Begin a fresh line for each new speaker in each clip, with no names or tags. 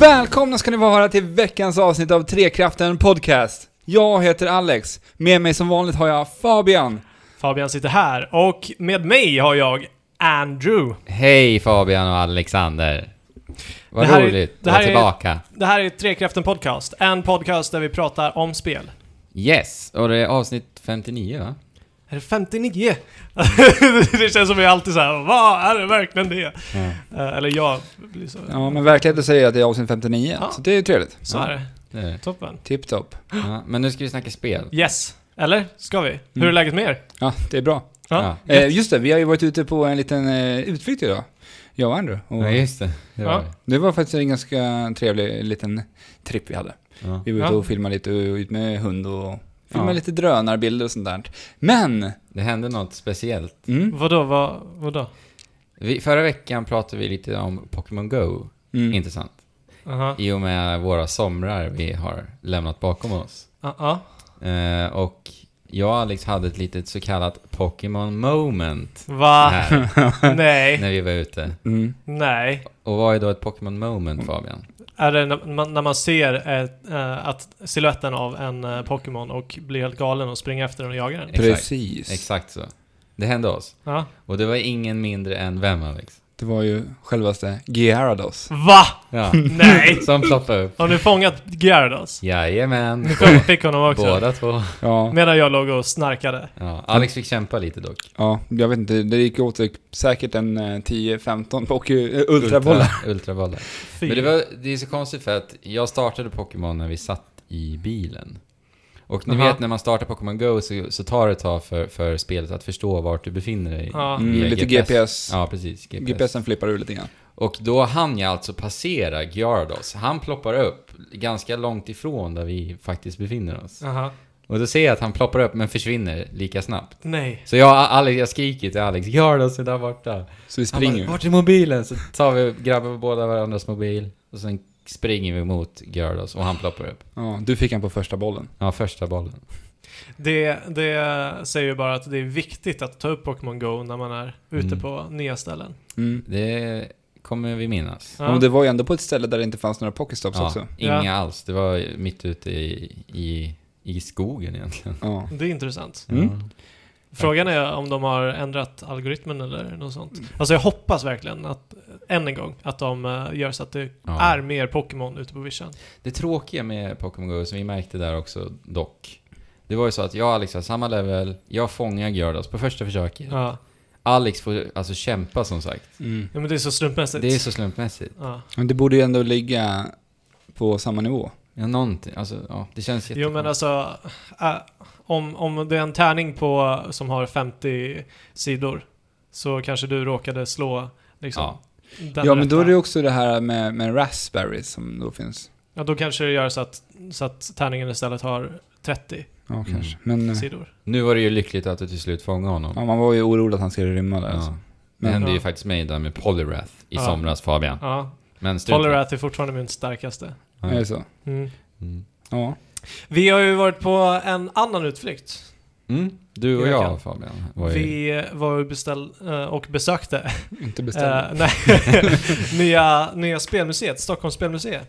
Välkomna ska ni vara till veckans avsnitt av Trekraften Podcast. Jag heter Alex. Med mig som vanligt har jag Fabian.
Fabian sitter här och med mig har jag Andrew.
Hej Fabian och Alexander. Vad
Det här är-
roligt
det
att
här
vara
är-
tillbaka.
Det här är Trekraften Podcast, en podcast där vi pratar om spel.
Yes, och det är avsnitt 59 va?
Är det 59? det känns som vi alltid så här, vad är det verkligen det?
Mm.
Eh, Eller jag blir så.
Ja, men verkligheten säger att det är avsnitt 59,
Ja.
så det är ju trevligt.
Så är det.
Det är det.
Toppen.
Tipptopp.
Ja, men nu ska vi snacka spel.
Yes. Eller? Ska vi? Hur är läget med er?
Ja, det är bra.
Mm. Ja.
Ja.
Eh, just det, vi har ju varit ute på en liten eh, utflykt idag. Jag och Andrew.
Ja,
Och
just det. det var
Ja.
det.
det var faktiskt en ganska trevlig liten tripp vi hade.
Ja.
Vi var ute
Ja.
och filmade lite, och ut med hund och filmade
Ja.
lite drönarbilder och sånt där. Men!
Det hände något speciellt.
Mm,
Vadå, vad, vadå?
Vi, förra veckan pratade vi lite om Pokémon Go.
mm.
Intressant.
Aha.
I och med våra somrar vi har lämnat bakom oss.
Ja, ja.
Eh, och jag och Alex hade ett litet så kallat Pokémon moment
Va?
här
Nej.
när vi var ute.
Mm.
Nej.
Och vad är då ett Pokémon moment Fabian?
Är det när man, när man ser ett, eh, att siluetten av en eh, Pokémon och blir helt galen och springer efter den och jagar den?
Exakt.
Precis.
Exakt så. Det hände oss.
Ja.
Och det var ingen mindre än vem Alex?
Det var ju självaste Gyarados.
Va?
Ja.
Nej!
Som ploppade upp.
Har ni fångat Gyarados?
Jajamän.
Ni fick- fick honom också?
Båda två.
Ja,
Medan jag låg och snarkade.
Ja. Alex fick kämpa lite dock.
ja, jag vet inte, det gick åt säkert en eh, 10-15 och eh, ultrabollar.
Ultra- Ultrabollar.
Fy.
Men det, var, det är så konstigt för att jag startade Pokémon när vi satt i bilen. Och ni
Aha.
vet när man startar Pokémon Go så, så tar det ett tag för, för spelet att förstå vart du befinner dig.
Ja.
Mm,
Via
lite GPS.
Ja, precis. GPS.
GPSen flippar ur lite grann.
Och då hann jag alltså passera Gyarados. Han ploppar upp ganska långt ifrån där vi faktiskt befinner oss.
Aha.
Och då ser jag att han ploppar upp men försvinner lika snabbt.
Nej.
Så jag, Alex, jag skriker till Alex, gör det så där borta.
Så vi
Han
springer
bara,
ju.
vart är mobilen? Så tar vi, grabbar vi båda varandras mobil och sen springer vi mot Gyarados och han ploppar upp.
Ja, du fick han på första bollen.
Ja, första bollen.
Det, det säger ju bara att det är viktigt att ta upp Pokémon Go när man är ute
Mm.
på nya ställen.
Mm.
Det kommer vi minnas.
Ja.
Och det var ju ändå på ett ställe där det inte fanns några pokestops
Ja,
också.
inga
Ja.
alls. Det var mitt ute i, i, i skogen egentligen.
Ja.
Det är intressant.
Mm.
Ja.
Frågan är om de har ändrat algoritmen eller något sånt.
Mm.
Alltså jag hoppas verkligen att, än en gång, att de eh, gör så att det
Ja.
är mer Pokémon ute på vischan.
Det tråkiga med Pokémon Go, som vi märkte där också dock, det var ju så att jag och Alex har samma level, jag fångar Gyarados på första försöket.
Ja.
Alex får alltså kämpa som sagt.
Mm.
ja, men det är så slumpmässigt.
Det är så slumpmässigt.
Ja.
Men det borde ju ändå ligga på samma nivå.
Ja, någonting. Alltså, ja, det känns
Jo men
jättekonstigt.
alltså, äh, om, om det är en tärning på, som har 50 sidor så kanske du råkade slå liksom,
Ja.
den
ja, men då är
rätta.
det ju också det här med, med raspberries som då finns.
ja, då kanske det gör så att, så att tärningen istället har 30
Ja,
Mm.
kanske. Men eh,
sidor.
Nu var det ju lyckligt att du till slut fångade honom.
ja, man var ju orolig att han skulle rymma där.
Ja.
Alltså.
Det hände ju
Ja.
faktiskt mig där med Polyrath i
Ja.
somras Fabian.
Ja.
Men strunt i det.
Polyrath är fortfarande min starkaste.
Ja.
Är det så?
Mm.
Mm.
Ja.
Vi har ju varit på en annan utflykt.
Mm. Du och
I veckan.
jag Fabian var ju...
Vi var ju beställ, eh, och besökte
Inte beställde.
eh, nej, nya, nya spelmuseet, Stockholms spelmuseum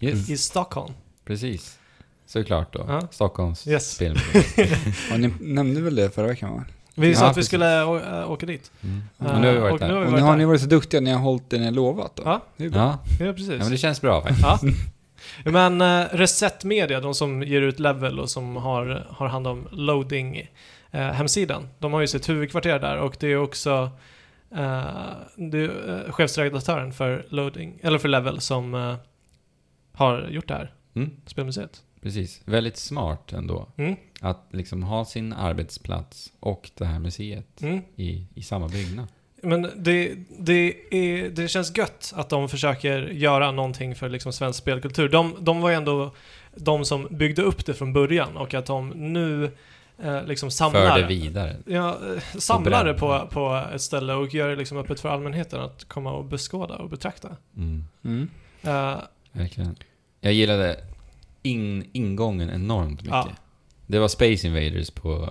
Yes.
i Stockholm.
Precis. Såklart då.
Ja.
Stockholms
Yes.
spelmuseum.
Ja, ni nämnde väl det förra veckan va?
Vi sa
Ja,
att vi
precis.
skulle å- eh, åka dit.
Mm.
Eh,
Och nu har vi varit
och
där.
Nu har vi
Och nu
varit
har
där.
ni varit så duktiga att ni har hållit det ni har hållit det.
Ja.
Det är ju bra.
Ja.
Ja,
ja,
precis.
men det känns bra faktiskt.
Ja. Men eh, Reset Media, de som ger ut Level och som har, har hand om loading eh, hemsidan, de har ju sitt huvudkvarter där och det är också eh, det är, eh, chefsredaktören för, loading, eller för Level som eh, har gjort det här
Mm.
spelmuseet.
Precis. Väldigt smart ändå.
Mm.
Att liksom ha sin arbetsplats och det här museet
Mm.
i, i samma byggnad.
Men det, det, är, det känns gött att de försöker göra någonting för liksom svensk spelkultur. De, de var ju ändå de som byggde upp det från början och att de nu eh, liksom
För det
samlar,
vidare.
ja, eh, samlar det på,
bredd.
på ett ställe och gör det liksom öppet för allmänheten att komma och beskåda och betrakta.
Mm.
Mm.
Eh,
Verkligen. Jag gillade in, ingången enormt mycket.
Ja.
Det var Space Invaders på...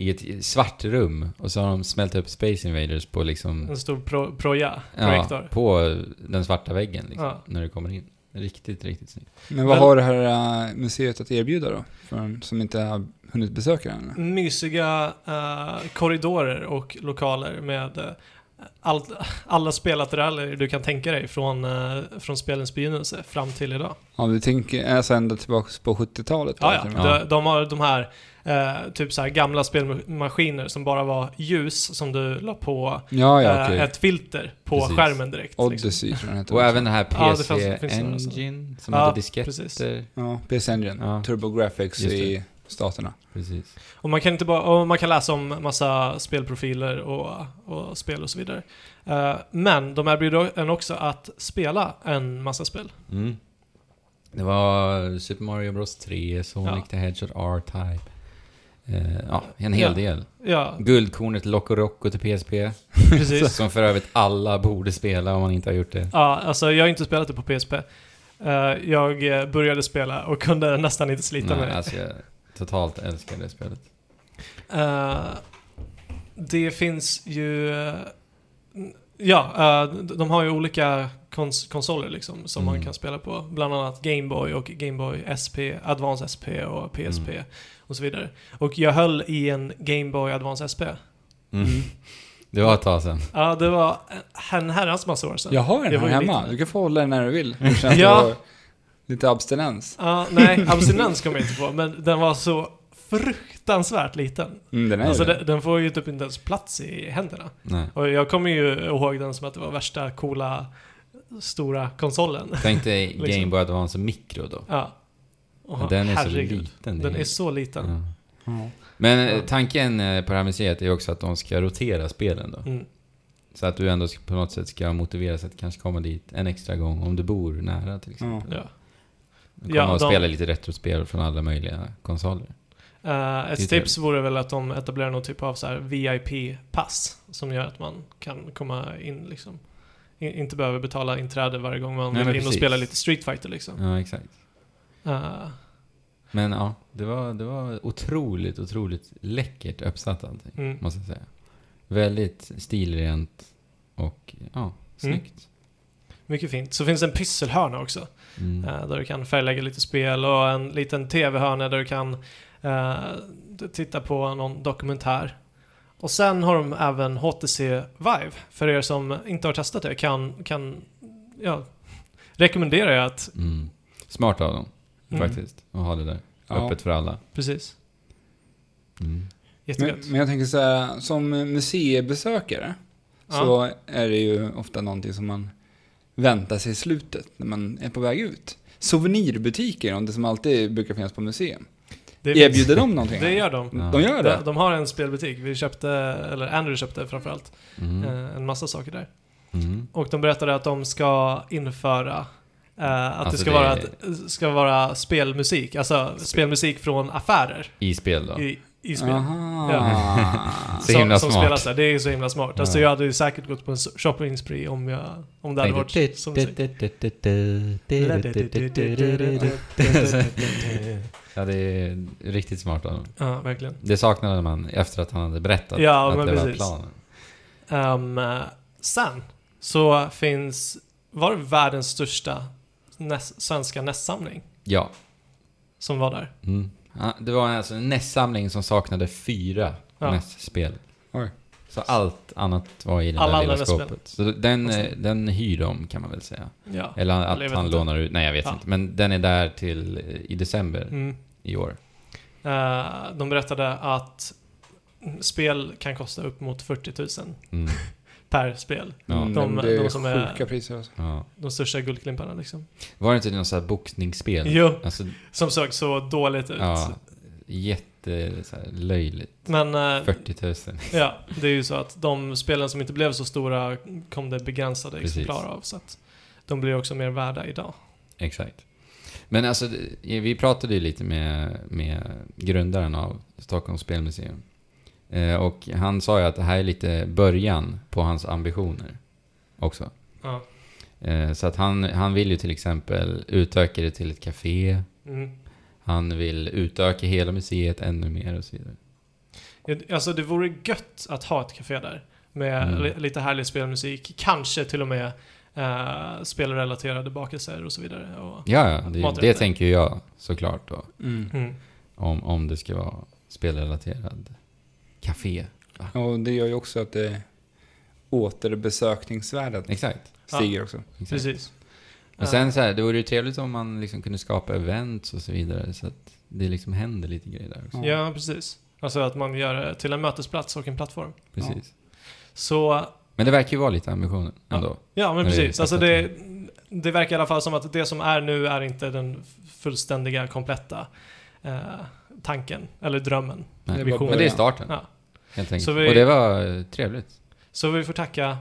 I ett svart rum. Och så har de smält upp Space Invaders på liksom...
en stor pro, proja,
Ja,
Mm. projektor.
på den svarta väggen liksom,
Ja.
när du kommer in. Det Riktigt, riktigt snyggt.
Men vad
Men-
har det här eh, museet att erbjuda då? För en som inte har hunnit besöka den? eller?
mysiga eh, korridorer och lokaler med eh, allt, alla spelateraler du kan tänka dig från, eh, från spelens begynnelse fram till idag.
Ja, du tänker alltså ända tillbaka på 70-talet? då,
Ja,
till och
ja.
med.
De, de har de här eh, typ så här gamla spelmaskiner som bara var ljus som du la på
ja, ja
eh,
okej.
ett filter på
Precis.
skärmen direkt. liksom.
Odyssey tror jag den heter.
Och
också.
även den här
Ja, det fanns-
PC
det finns några
Engine som
Ja,
hade disketter.
precis.
Ja, PS Engine.
Ja.
TurboGrafx
Just det.
i staterna.
Precis.
Och man kan, inte bara, och man kan läsa om massa spelprofiler och, och spel och så vidare. Eh, men de erbjuder en också att spela en massa spel.
Mm. Det var Super Mario Bros 3, Sonic the Hedgehog R-Type. Eh, ja, en hel
Ja.
del.
Ja,
Guldkornet Loco Roco till PSP.
precis.
Som för övrigt alla borde spela om man inte har gjort det.
Ja, alltså jag har inte spelat det på PSP. Eh, jag eh, började spela och kunde nästan inte slita
Nej,
med det.
alltså jag totalt älskar det spelet.
Eh, det finns ju... eh, ja, eh, d- de har ju olika kons konsoler liksom som man
Mm.
kan spela på. Bland annat Game Boy och Game Boy SP, Advance SP och PSP
Mm.
och så vidare. Och jag höll i en Game Boy Advance SP.
Mm.
Det var ett tag sedan.
Ja, det var en en herrans massa år sedan.
Jag har
Jag
den
var
här
ju
hemma.
liten.
Du kan få hålla den när du vill. Det känns
Ja.
ja. lite abstinens.
Ja, nej, abstinens kom jag inte på, men den var så fruktansvärt liten.
Mm, den är
Alltså
ju det.
den, den får ju typ inte ens plats i händerna.
Nej.
Och jag kommer ju ihåg den som att det var värsta coola stora konsolen.
Tänk dig
Liksom.
Game Boy Advance Micro då.
Ja. Åh,
den är så
herregud.
liten.
Den är så liten.
Ja.
Ja.
Men eh, tanken eh, på det här museet är ju också att de ska rotera spelen då.
Mm.
Så att du ändå ska- på något sätt ska motiveras att kanske komma dit en extra gång om du bor nära till exempel.
Ja.
Ja.
Komma
Ja,
och
de-
spela lite retrospel från alla möjliga konsoler.
Eh,
Det är
ett tips vore väl att de etablerar någon typ av så här VIP-pass som gör att man kan komma in liksom. In, inte behöver betala inträde varje gång man
Nej, men
vill in och
precis.
spela lite Street Fighter liksom.
Ja, exakt.
Eh,
Men ja, det var, det var otroligt, otroligt läckert uppsatt allting,
mm.
måste jag säga. Väldigt stilrent och
Mm.
ja, snyggt.
Mycket fint. Så finns det en pysselhörna också.
Mm.
Eh, Där du kan färglägga lite spel och en liten tv-hörna där du kan eh, d- titta på någon dokumentär. Och sen har de även HTC Vive. För er som inte har testat det kan, kan ja, rekommenderar jag att...
Mm. Smart av dem,
Mm.
faktiskt, att ha det där.
Ja.
Öppet för alla.
Precis.
Mm.
Men,
Jättegött.
men jag tänker så här, som museibesökare så är det ju ofta någonting som man väntar sig i slutet när man är på väg ut. Souvenirbutiker, om det som alltid brukar finnas på museum.
det
Erbjuder de någonting?
Det gör de.
De gör
De,
det?
de har en spelbutik. Vi köpte, eller Andrew köpte framförallt,
Mm.
eh, en massa saker där.
Mm.
Och de berättade att de ska införa eh, att det,
Alltså,
ska,
det-
Vara, att- ska vara spelmusik, alltså spelmusik från affärer
I spel då.
i, i spel.
Aha.
Så himla
som
smart.
spelas där. Det är så himla smart. Alltså
Ja.
jag hade ju säkert gått på en shopping spree om, jag, om det hade varit som musik.
Ja, det är riktigt smart av honom.
Ja, verkligen.
Det saknade man efter att han hade berättat
Ja,
att
men
det var
precis.
planen.
Ehm, sen så finns, var det världens största näs, svenska nästsamling
Ja.
som var där?
Mm. Ja, det var alltså en nästsamling som saknade fyra
Ja.
nästspel.
Oj.
Så allt annat var i det
Alla
där lilla
andra nästspel.
skåpet. Så den,
Och sen-
eh, den hyr de kan man väl säga.
Ja.
Eller att
Eller jag vet
han
inte.
lånar ut. Nej, jag vet
Ja.
inte. Men den är där till eh, i december
Mm.
i år.
Eh, de berättade att spel kan kosta upp mot 40 000
Mm.
per spel.
Ja.
Mm,
De-
det är
de som är-
sjuka priser alltså.
Ja.
De största guldklimparna liksom.
Var det inte något sånt här boxningsspel?
Jo,
Alltså,
som såg så dåligt ut.
ja. Jätte så här, löjligt.
Men eh,
40 000.
ja, det är ju så att de spelen som inte blev så stora kom det begränsade
Precis.
exemplar av. Så att de blir också mer värda idag.
Exakt. Men alltså, det- vi pratade ju lite med, med grundaren av Stockholms spelmuseum. Eh, och han sa ju att det här är lite början på hans ambitioner också.
Ja.
Eh, så att han, han vill ju till exempel utöka det till ett café.
Mm.
Han vill utöka hela museet ännu mer och så vidare.
Alltså det vore gött att ha ett café där. Med
Mm.
li- lite härlig spelmusik. Kanske till och med eh, spelrelaterade bakelser och så vidare. Och,
Ja, ja det, det
Maträtter.
tänker ju jag såklart då.
Mm.
mm.
Om, om det ska vara spelrelaterad café.
Och det gör ju också att det återbesökningsvärdet
Exakt.
stiger också.
exakt.
Precis.
Och sen så här, det vore ju trevligt om man liksom kunde skapa events och så vidare. Så att det liksom händer lite grejer där också.
Ja.
Ja, precis. Alltså att man gör det till en mötesplats och en plattform.
Precis.
Så
Men det verkar ju vara lite ambitionen ändå.
Ja, men
Eller
precis. Alltså det,
ersättning.
det verkar i alla fall som att det som är nu är inte den fullständiga, kompletta eh, tanken, eller drömmen.
Nej.
Det är bara
Men det är
början.
starten.
Ja.
Helt enkelt.
Så vi-
Och det var eh, trevligt.
Så vi får tacka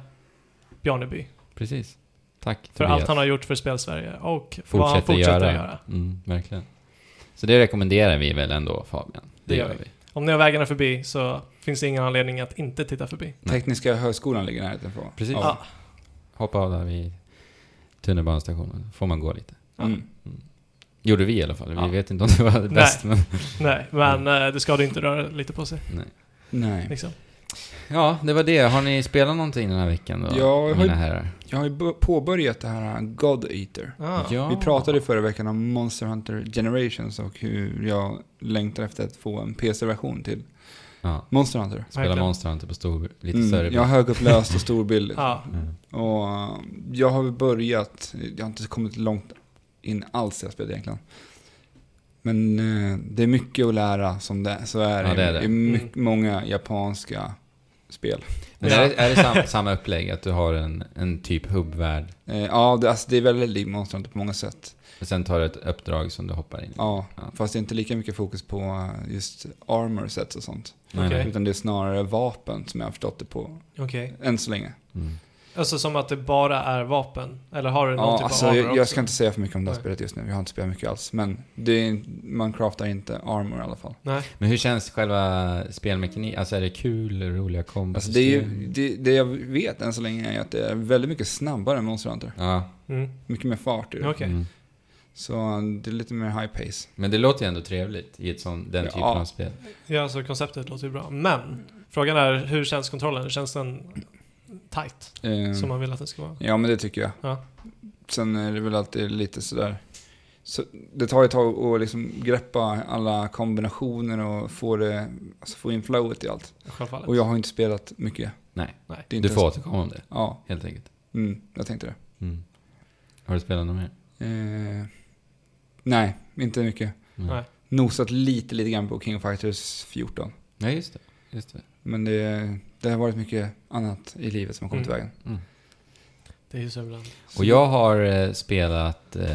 Bjarneby
Precis. Tack
för allt han har gjort för Spelsverige och vad han
fortsätter,
fortsätter
göra.
att göra.
Mm, verkligen. Så det rekommenderar vi väl ändå Fabian?
Det gör vi. Om ni har vägarna förbi så finns det ingen anledning att inte titta förbi.
Nej.
Tekniska högskolan ligger nära utanför.
Precis.
Ja.
Hoppa av där vid tunnelbanestationen. Får man gå lite.
Mm.
Gjorde vi i alla fall. Vi
Ja.
vet inte om det var bäst. Men,
Nej, men
Mm.
eh, det ska du inte röra lite på sig.
nej.
Nej.
Liksom.
Ja, det var det. Har ni spelat någonting den här veckan då?
Ja, jag har-
mina herrar.
Jag har ju bo- påbörjat det här God Eater.
Ah.
Ja.
Vi pratade förra veckan om Monster Hunter Generations och hur jag längtar efter att få en PC-version till
Ja,
Monster Hunter.
spela
Verkligen.
Monster Hunter på stor, lite större
Mm, jag har
bild.
högupplöst och stor bild.
Ja.
Mm.
Och eh, jag har börjat, jag har inte kommit långt in alls i det här spelet egentligen. Men eh, det är mycket att lära som det så är
Ja, det är
i-
det. Mm.
i mycket, många japanska spel.
Men är det, är det sam, samma upplägg? Att du har en, en typ hubbvärld
Eh, ja, det, alltså, det är väldigt likt Monster Hunter på många sätt.
och sen tar du ett uppdrag som du hoppar in i?
Ja,
Ja.
fast det är inte lika mycket fokus på eh, just armor sets och sånt.
Nej,
Okej.
nej.
Utan det är snarare vapen som jag har förstått det på,
Okej.
än så länge.
Mm.
Alltså som att det bara är vapen? Eller har du någon
Ja,
typ
alltså,
av armor
jag, jag
också?
ska inte säga för mycket om det här
Nej.
spelet just nu, jag har inte spelat mycket alls. Men det är, man craftar inte armor i alla fall.
Nej.
Men hur känns själva spelmekaniken? Alltså är det kul, roliga kombos?
Alltså det, är ju, det, det jag vet än så länge är att det är väldigt mycket snabbare än Monster Hunter.
Ja,
Mm.
Mycket mer fart i det.
Okej.
mm.
Så eh, det är lite mer high pace.
Men det låter ju ändå trevligt i ett sån, den typen
Ja.
av spel.
Ja, alltså konceptet låter ju bra. Men frågan är, hur känns kontrollen? Känns den tight?
Eh,
Som man vill att den ska vara?
Ja men det tycker jag.
Ja.
Sen är det väl alltid lite sådär. Så det tar ju ett tag att liksom greppa alla kombinationer och få, det, alltså få in flowet i allt.
Självfallet.
Och jag har inte spelat mycket.
Nej.
Nej.
Det är inte
Du får
ens-
återkomma om det,
Ja,
helt enkelt.
mm, jag tänkte det.
Mm. Har du spelat något mer?
Eh, nej, inte mycket.
Nej.
Nosat lite, lite grann på King of Fighters 14.
Nej, just det. Just det.
Men det, det har varit mycket annat i livet som har kommit i
Mm.
vägen.
Mm.
Det är ju så ibland.
Så-
Och jag har eh, spelat eh,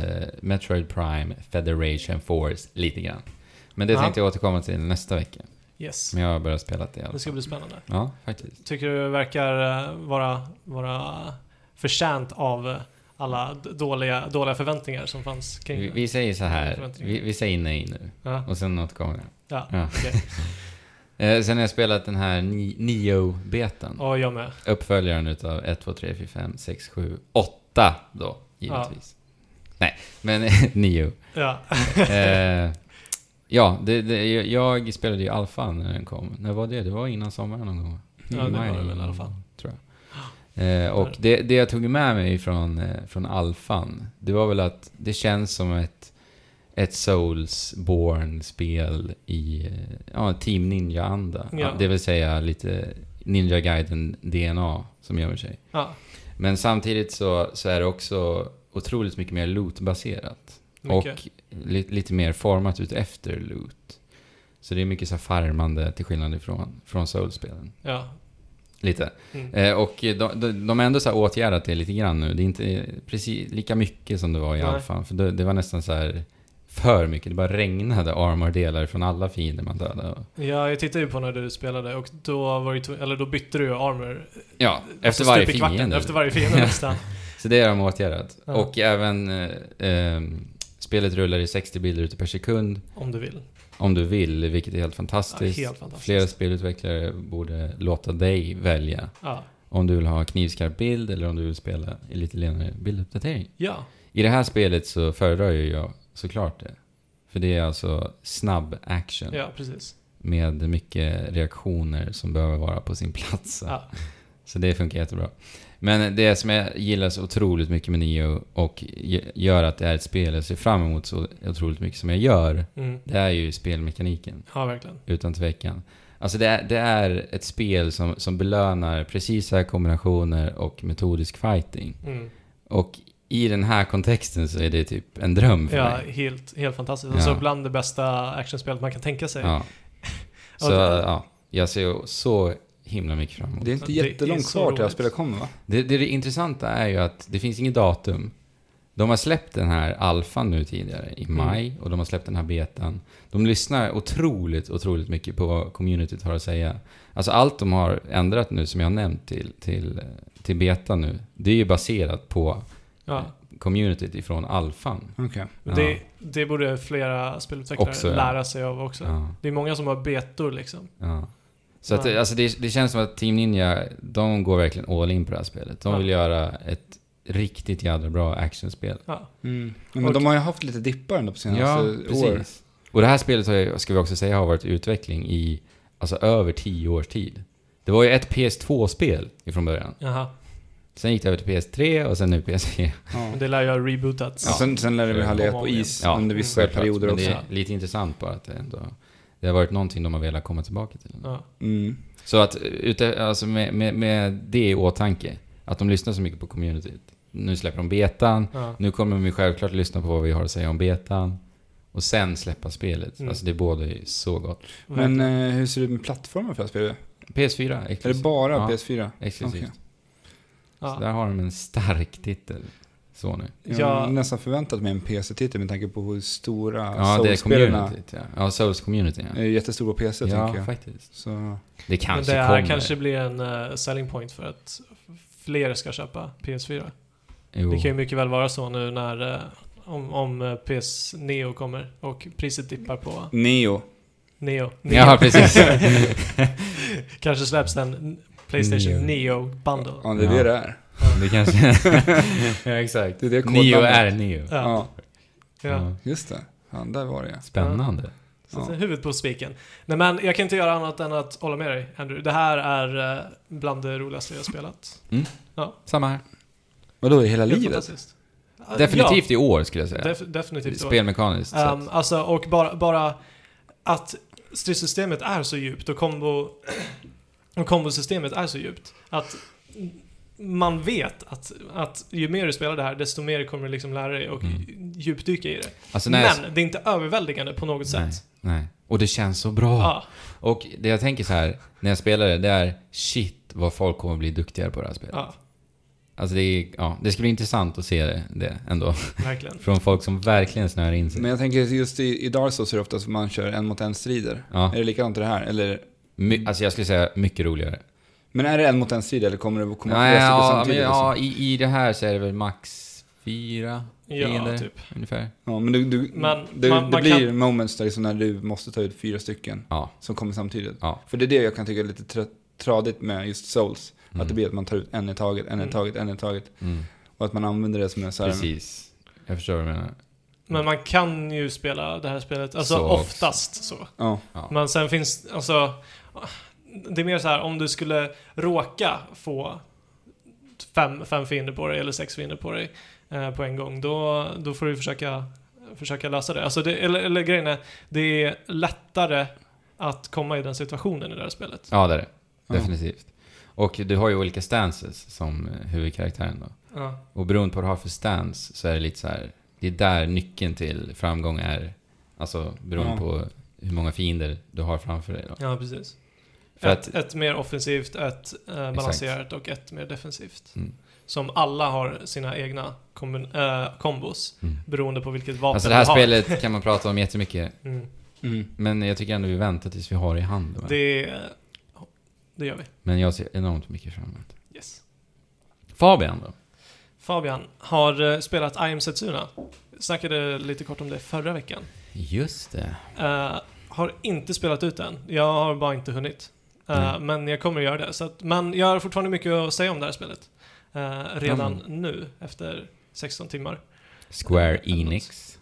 Metroid Prime Federation Force lite grann. Men det
Ja.
tänkte jag återkomma till nästa vecka.
Yes.
Men jag har börjat spela det i alla
Det ska
fall.
bli spännande.
Ja, faktiskt.
Tycker du det verkar eh, vara, vara förtjänt av eh, alla d- dåliga, dåliga förväntningar som fanns kring
Vi,
det?
vi säger så här,
Förväntningar.
vi, vi säger nej nu.
Ja,
Och sen återkommer jag.
ja.
Ja.
okej.
Eh, sen har jag spelat den här Ni- Nio-betan.
Och jag med.
Uppföljaren utav 1, 2, 3, 4, 5, 6, 7, 8 då, givetvis. Nej, men Nio.
Ja.
Eh, ja, det, det, jag- jag spelade ju alfan när den kom. När var det? Det var innan sommaren någon gång.
Ja, det
I maj
var det väl i alla fall.
Tror jag. Eh, och det, det jag tog med mig från, eh, från alfan, det var väl att det känns som ett, ett Souls-born-spel i eh, ja, Team Ninja-anda.
Ja.
Det vill säga lite Ninja Gaiden-DNA som gör sig.
ja.
Men samtidigt så, så är det också otroligt mycket mer loot-baserat.
Mycket.
Och li, lite mer format ut efter loot. Så det är mycket så här farmande till skillnad ifrån, från Souls-spelen.
Ja.
Lite.
Mm.
Eh, och de, de, de har ändå så här åtgärdat det lite grann nu. Det är inte eh, precis lika mycket som det var i
Nej.
alfan. För det, det var nästan så här för mycket. Det bara regnade armordelar från alla fiender man dödade.
Ja, jag tittade ju på när du spelade och då, var ju, tv- eller då bytte du ju armor
Ja, efter
Alltså,
varje
stup i kvarten,
fiende.
Efter varje fiende nästan.
Så det har de åtgärdat.
Ja.
Och även eh, eh, spelet rullar i 60 bilder ute per sekund
Om du vill.
om du vill, vilket är helt
Ja,
fantastiskt.
helt fantastiskt.
Flera spelutvecklare borde låta dig välja
Ja.
om du vill ha knivskarp bild eller om du vill spela i lite lenare bilduppdatering.
ja.
I det här spelet så föredrar ju jag såklart det. För det är alltså snabb action
Ja, precis.
med mycket reaktioner som behöver vara på sin plats.
Ja.
Så det funkar jättebra. Men det som jag gillar så otroligt mycket med Nio och ge- gör att det är ett spel jag ser fram emot så otroligt mycket som jag gör,
Mm.
det är ju spelmekaniken.
Ja, verkligen.
Utan tvekan. Alltså det är, det är ett spel som, som belönar precisa kombinationer och metodisk fighting.
Mm.
Och i den här kontexten så är det typ en dröm för
Ja,
mig.
helt, helt fantastiskt.
Ja.
Alltså bland det bästa actionspelet man kan tänka sig.
Ja.
Ja,
Så
det-
ja, jag ser så himla mycket fram emot.
Det är inte
Det är
jättelångt
så
kvar till det här
roligt.
spelet kommer va?
Det, det, det intressanta är ju att det finns inget datum. De har släppt den här alfan nu tidigare
Mm.
i maj och de har släppt den här betan. De lyssnar otroligt, otroligt mycket på vad communityt har att säga. Alltså allt de har ändrat nu som jag har nämnt till, till, till betan nu, det är ju baserat på
Ja.
communityt ifrån alfan.
Okej.
Ja.
Det, det borde flera spelutvecklare
Också, ja.
lära sig av också.
Ja,
Det är många som har betor liksom.
ja. Så att,
Ja.
det- alltså det, det känns som att Team Ninja, de går verkligen all in på det här spelet. De
Ja.
vill göra ett riktigt jävla bra actionspel.
Ja.
Mm. Ja, Men
Och-
de har ju haft lite dippar ändå på senaste år.
Och det här spelet har, ju- ska vi också säga har varit i utveckling i alltså, över tio års tid. Det var ju ett PS2-spel ifrån början.
Jaha.
Sen gick det över till PS3 och sen nu PS4.
Ja.
Men det lär ju ha rebootats.
Och sen, sen lär det väl ha legat på is
Ja,
under vissa
Självklart,
perioder
men det
också.
är lite intressant bara att det ändå... Det har varit någonting de har velat komma tillbaka till.
Ja.
Mm.
Så att ute, alltså med, med, med det i åtanke, att de lyssnar så mycket på communityt. Nu släpper de betan,
Ja.
nu kommer de ju självklart lyssna på vad vi har att säga om betan. Och sen släppa spelet.
Mm.
Alltså det båda ju så gott.
Men eh, hur ser det ut med plattformen för det här spelet?
PS4,
Är
exklusivt.
det bara
Ja.
PS4?
Exklusivt.
Okej.
Så
ja.
där har de en stark titel. Så nu.
Jag
Ja.
har nästan förväntat mig en PC-titel med tanke på hur stora
Ja, det är
Souls-spelarna
communityt. Ja, ja Souls community. Ja,
är jättestora på PC tänker
ja
jag.
faktiskt.
Så,
Det
Men
kanske
det här
kommer.
kanske blir en eh, selling point för att fler ska köpa PS4.
Jo.
Det kan ju mycket väl vara så nu när eh, om, om eh, PS Neo kommer och priset dippar på
Neo.
Neo. Neo.
Ja, precis.
Kanske släpps en Playstation Neo, Bundle.
Ja, det är det
Ja.
det är.
det kanske... ja, exakt.
Det är det
Neo
kodnamnet.
är Neo.
Ja.
Ja,
Ja.
Ja.
just det. Fan, där var det ja.
Spännande.
Så att
Ja.
säga, huvudet på spiken. Nej men jag kan inte göra annat än att hålla med dig Andrew. Det här är eh, bland det roligaste jag spelat.
Samma här.
Vadå, i hela
Helt
livet?
fantastiskt. Ja,
Definitivt i år skulle jag säga.
def- definitivt. så.
Spelmekaniskt
Ehm,
sett.
alltså, och bara, bara att stridssystemet är så djupt och kombo och kombosystemet är så djupt att man vet att, att ju mer du spelar det här desto mer kommer du liksom lära dig och
Mm.
djupdyka i det.
Alltså, när jag-
Men det är inte överväldigande på något
Nej,
sätt.
nej. Och det känns så bra.
Ja,
Och det jag tänker så här, när jag spelar det, det är shit vad folk kommer bli duktigare på det här spelet.
ja,
Alltså det, är, ja, det ska bli intressant att se det, det ändå.
verkligen.
Från folk som verkligen snör in sig.
Men jag tänker just i, i Dark Souls är det ofta som man kör en mot en strider.
Ja,
Är det likadant i det här? Eller,
my, alltså jag skulle säga mycket roligare.
men är det en mot en strid eller kommer det att komma
Nej,
flera stycken
ja, men,
samtidigt? alltså? liksom?
ja i, i det här så är det väl max fyra
Ja,
fiender
typ.
ungefär.
Ja, men du, du,
Men
det,
man-
det
man
blir moments där liksom när du måste ta ut fyra stycken
Ja.
som kommer samtidigt.
Ja.
För det är det jag kan tycka är lite tra- tradigt med just Souls. Att det
Mm.
blir att man tar ut en i taget, en i
Mm.
taget, en i taget.
Mm.
Och att man använder det som en så här...
Precis. Jag förstår vad du menar.
Men man kan ju spela det här spelet, alltså
Så.
oftast så.
Ja,
Ja.
Men sen finns, alltså, det är mer så här om du skulle råka få fem, fem fiender på dig eller sex fiender på dig eh, på en gång, då, då får du försöka, försöka lösa det. Alltså det eller, eller grejen är, det är lättare att komma i den situationen i det här spelet.
Ja, det är det.
Ja.
Definitivt. Och du har ju olika stances som eh, huvudkaraktären då.
Ja,
Och beroende på vad du har för stance så är det lite så här. Det är där nyckeln till framgång är. Alltså beroende
Ja.
på hur många fiender du har framför dig då.
ja precis.
För
ett,
att-
ett mer offensivt, ett eh, balanserat och ett mer defensivt.
Mm.
Som alla har sina egna kombin- eh, kombos
Mm.
beroende på vilket vapen
Alltså det här
du har.
spelet kan man prata om jättemycket.
Mm.
mm.
Men jag tycker ändå vi väntar tills vi har det i handen. va?
Det, det gör vi.
Men jag ser enormt mycket fram emot.
Yes.
Fabian då?
Fabian har eh, spelat I am Setsuna. Snackade lite kort om det förra veckan.
Just det.
Eh, har inte spelat ut den. Jag har bara inte hunnit. Eh,
Mm.
Men jag kommer göra det. Så att, men jag har fortfarande mycket att säga om det här spelet. Eh, redan nu, efter 16 timmar.
Square Enix.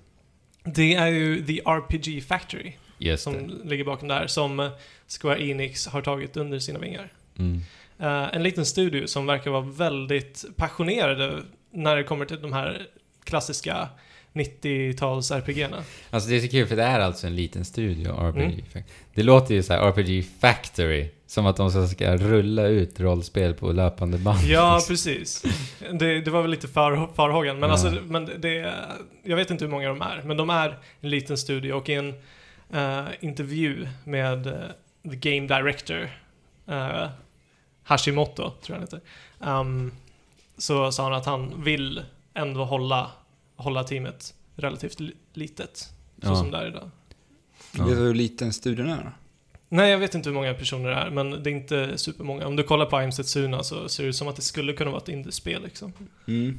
Det är ju The RPG Factory
Just
som
det.
eh, ligger bakom det här, som Square Enix har tagit under sina vingar.
Mm.
Eh, en liten studio som verkar vara väldigt passionerade när det kommer till de här klassiska 90-tals RPG-erna.
Alltså det är så kul för det är alltså en liten studio, RPG
Mm.
Fac- Det låter ju så här RPG Factory, som att de ska- ska rulla ut rollspel på löpande band.
Ja, precis. Det, det var väl lite far, farhågan. Men,
Ja.
alltså, men det, jag vet inte hur många de är, men de är en liten studio och i en eh, intervju med eh, the game director eh, Hashimoto, tror jag han heter, ehm, så sa han att han vill ändå hålla, hålla teamet relativt li- litet, så
Ja.
som det är idag.
Ja.
Vet du hur liten studion är då?
Nej, jag vet inte hur många personer det är, men det är inte supermånga. Om du kollar på I'm Setsuna så ser det ut som att det skulle kunna vara ett indiespel liksom.
Mm.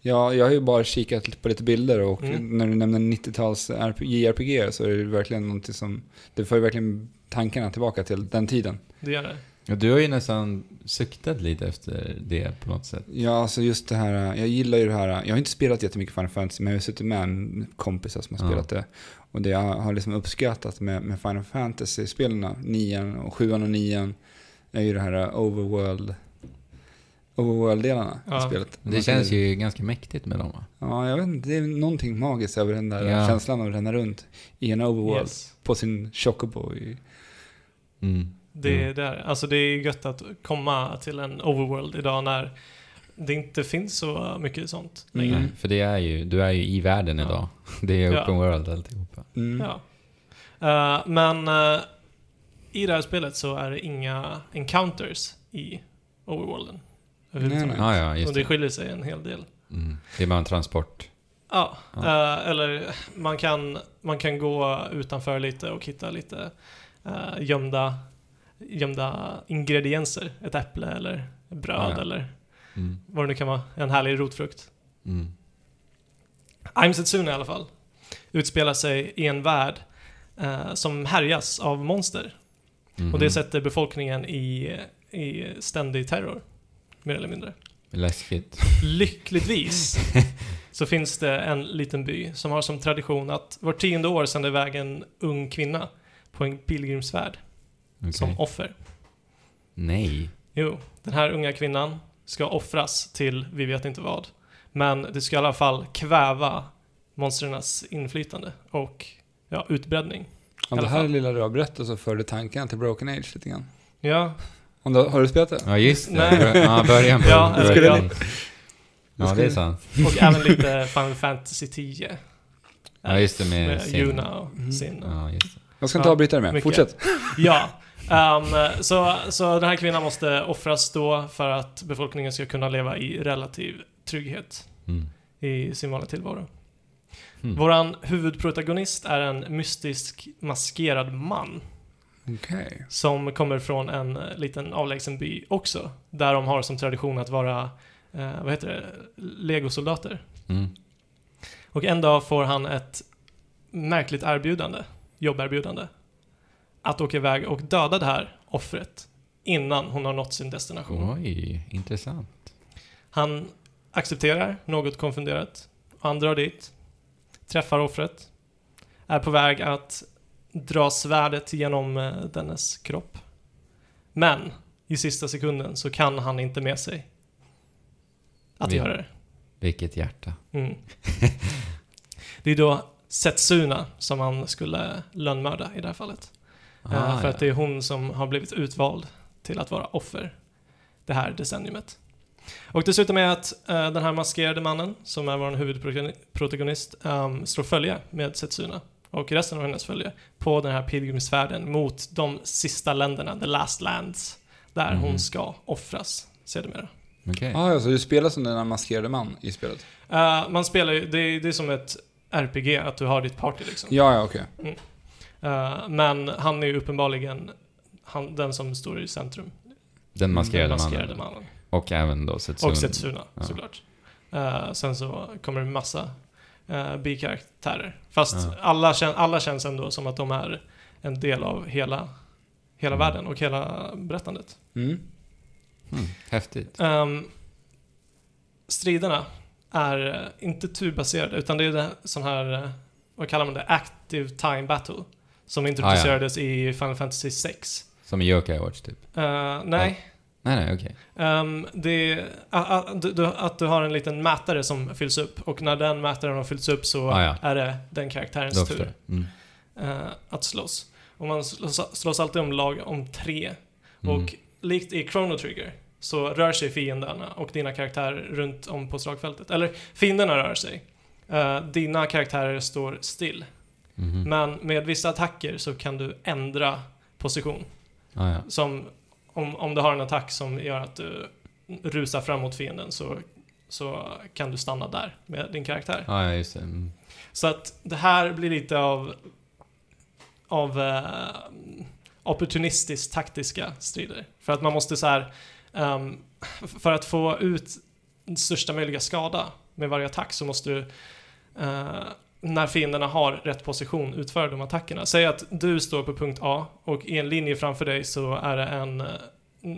Ja, jag har ju bara kikat lite på lite bilder och
Mm.
när du nämner 90-tals JRPG så är det verkligen någonting som... Det för ju verkligen tankarna tillbaka till den tiden.
Det gör det.
Och du har ju nästan suktat lite efter det på något sätt.
Ja, alltså just det här, jag gillar ju det här, jag har inte spelat jättemycket Final Fantasy, men jag har suttit med en kompisar som har
Ja.
spelat det. Och det jag har liksom uppskattat med, med Final Fantasy-spelen, nian och sjuan och nian, är ju det här overworld, overworld-delarna
Ja.
i spelet.
Det känns ju ganska mäktigt med dem va?
Ja, jag vet inte, det är någonting magiskt över den där
Ja.
känslan av att ränna runt i en overworld
Yes.
på sin chocobo. i-
Mm.
Det,
Mm.
det, är, alltså det är gött att komma till en overworld idag när det inte finns så mycket sånt längre.
Mm.
Nej, för det är ju, du är ju i världen
Ja.
idag. Det är
Ja.
open world alltihopa.
Mm.
Ja. Eh, men eh, i det här spelet så är det inga encounters i overworlden. överhuvudtaget.
Nej,
Ja, ja,
Och
just
det
det.
skiljer sig en hel del.
Mm. Det är bara en transport.
Ja,
Ja.
eh, eller man kan, man kan gå utanför lite och hitta lite eh, gömda, gömda ingredienser. Ett äpple eller bröd
Ja, ja.
eller
Mm.
vad det nu kan vara. En härlig rotfrukt.
Mm.
I'm Setsuna i alla fall utspelar sig i en värld eh, som härjas av monster.
Mhm.
Och det sätter befolkningen i, i ständig terror, mer eller mindre.
Läskigt.
Lyckligtvis så finns det en liten by som har som tradition att var tionde år sänder iväg en ung kvinna på en pilgrimsfärd
Okej.
som offer.
Nej.
Jo, den här unga kvinnan ska offras till vi vet inte vad. Men det ska i alla fall kväva monstrens inflytande och ja, utbredning.
Ja,
I
det
alla
här
fall.
lilla du har berättat så förde tankarna till Broken Age lite grann.
Ja,
Om du, har du spelat det?
Ja, just det.
Nej.
Bör- Ja, början på
Ja,
början.
skulle
Ja, det är sant.
och även lite Final Fantasy 10.
Ja, just det, med Sin.
Yuna och
Mm.
Sin. och-
Ja, just det.
Jag ska inte
Ja,
avbryta dig med.
mycket.
Fortsätt.
Ja, ehm, så, så den här kvinnan måste offras då för att befolkningen ska kunna leva i relativ trygghet
Mm.
i sin vanliga tillvaro.
Mm.
Våran huvudprotagonist är en mystisk maskerad man
Okej.
som kommer från en eh, liten avlägsen by också, där de har som tradition att vara, eh, vad heter det, legosoldater.
Mm.
Och en dag får han ett märkligt erbjudande, jobberbjudande, att åka iväg och döda det här offret innan hon har nått sin destination.
Oj, intressant.
Han accepterar, något konfunderat. Och han drar dit, träffar offret, är på väg att dra svärdet genom eh, dennes kropp. Men i sista sekunden så kan han inte med sig att
Vi-
göra det.
Vilket hjärta.
Mm. det är då Setsuna som han skulle lönnmörda i det här fallet. Eh,
Ah,
för
ja.
att det är hon som har blivit utvald till att vara offer det här decenniumet. Och dessutom är att eh, den här maskerade mannen, som är vår huvudprotagonist, um, slår följe med Setsuna och resten av hennes följe på den här pilgrimsfärden mot de sista länderna, the last lands, där
Mhm.
hon ska offras sedermera.
Okej.
Ah, ja, så du spelar som den där maskerade man i spelet?
Eh, man spelar ju, det, är- det är som ett RPG, att du har ditt party liksom.
Ja, ja, okej.
Eh, men han är ju uppenbarligen han, den som står i centrum.
Den maskerade,
den maskerade
mannen.
mannen.
Och även då Setsuna.
Och Setsuna,
Ja.
såklart. Eh, sen så kommer det massa uh, bikaraktärer. Fast
Ja.
alla, kän, alla känns ändå som att de är en del av hela, hela
Mm.
världen och hela berättandet.
Mm.
Mm. Häftigt.
Ehm, striderna är eh, inte turbaserade utan det är det- sån här, eh,
Ah,
vad kallar man det, Active Time Battle. Som introducerades i Final Fantasy 6.
Som i Yokai Watch typ?
Eh, nej,
Nej, nej, okej.
Ehm, det är, a- a- du- du- att du har en liten mätare som fylls upp och när den mätaren har fyllts upp så
Ah, ja.
är det den
Då
karaktärens
förstår
tur
jag. Mm.
eh, att slåss. Och man slåss, slåss alltid om lag om tre.
Mm.
Och likt i Chrono Trigger så rör sig fienderna och dina karaktärer runt om på slagfältet. Eller fienderna rör sig. Eh, dina karaktärer står still.
Mhm.
Men med vissa attacker så kan du ändra position.
Ah, ja.
Som om, om du har en attack som gör att du rusar fram mot fienden så, så kan du stanna där med din karaktär.
Ah, ja, just det. Mm.
Så att det här blir lite av, av eh, opportunistiskt taktiska strider. För att man måste så här, ehm, för att få ut största möjliga skada med varje attack så måste du, eh, när fienderna har rätt position, utföra de attackerna. Säg att du står på punkt A och i en linje framför dig så är det en, eh,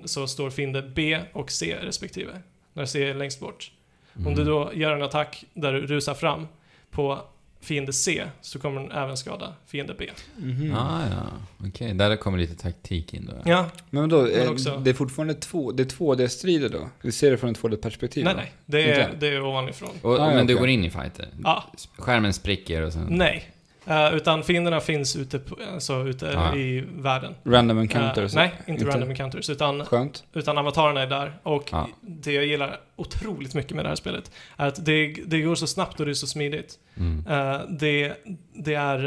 så står fienden B och C respektive. När C är längst bort. Om
Mm.
du då gör en attack där du rusar fram på fiende C så kommer den även skada fiende B.
Mhm.
Ah, ja. Okej, där kommer lite taktik in då. ja.
Ja,
Men då,
Men också-
det är fortfarande två, det är 2D-strider då? Vi ser det från ett 2D-perspektiv?
nej
då?
nej, det är,
Inte?
det är ovanifrån.
Och,
Ah, ja,
men du
okej.
går in i fighter?
Ja,
Skärmen spricker och sen...
nej. Eh, utan fienderna finns ute, på, alltså, ute
Ah.
i världen.
Random
Eh,
encounters?
nej, inte,
inte?
random encounters, utan,
Skönt.
utan avatarerna är där. Och
Ja.
det jag gillar otroligt mycket med det här spelet är att det, det går så snabbt och det är så smidigt.
Mm.
Eh, det, det är,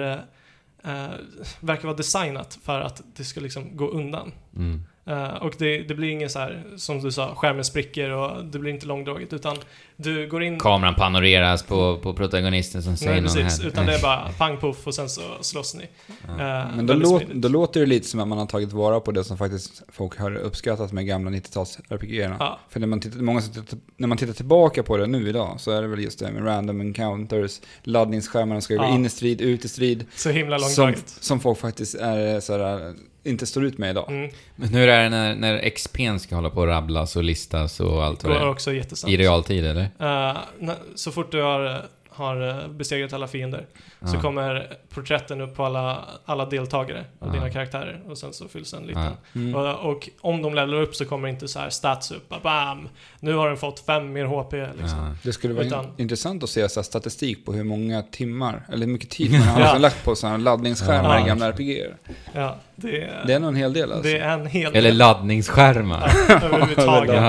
eh, eh, verkar vara designat för att det ska liksom gå undan.
Mm.
Eh, och det, det blir ingen så här, som du sa, skärmen spricker och det blir inte långdraget utan du går in...
Kameran panoreras på, på protagonisten som säger
Nej
någon
precis,
här.
utan det är bara pang poff och sen så slåss ni. Eh,
Men då,
väldigt
låt,
smidigt.
då låter det lite som att man har tagit vara på det som faktiskt folk har uppskattat med gamla 90-tals-RPG-erna.
Ja,
För när man, tittar, många som tittar, när man tittar tillbaka på det nu idag så är det väl just det med random encounters, laddningsskärmarna ska gå
Ja.
in i strid, ut i strid.
så himla
Som,
långdraget.
som folk faktiskt är eh, så här, inte står ut med idag.
Mm,
Men hur är det när, när XP'n ska hålla på och rabblas och listas och allt vad det
går
är?
också jättesnabbt.
I realtid eller?
Eh, när- så fort du har, har besegrat alla fiender så
Ja.
kommer porträtten upp på alla, alla deltagare och
Ja.
dina karaktärer och sen så fylls en liten.
Ja.
Mm.
Och, och om de levlar upp så kommer inte så här stats upp, bam! Nu har den fått fem mer HP liksom.
Ja.
Det skulle vara
Utan-
in- intressant att se så här, statistik på hur många timmar, eller hur mycket tid man har liksom
Ja.
lagt på sådana laddningsskärmar
Ja.
i gamla RPG-er.
Ja, det,
Det är nog en hel del alltså.
det är en hel
Eller laddningsskärmar.
överhuvudtaget. ja.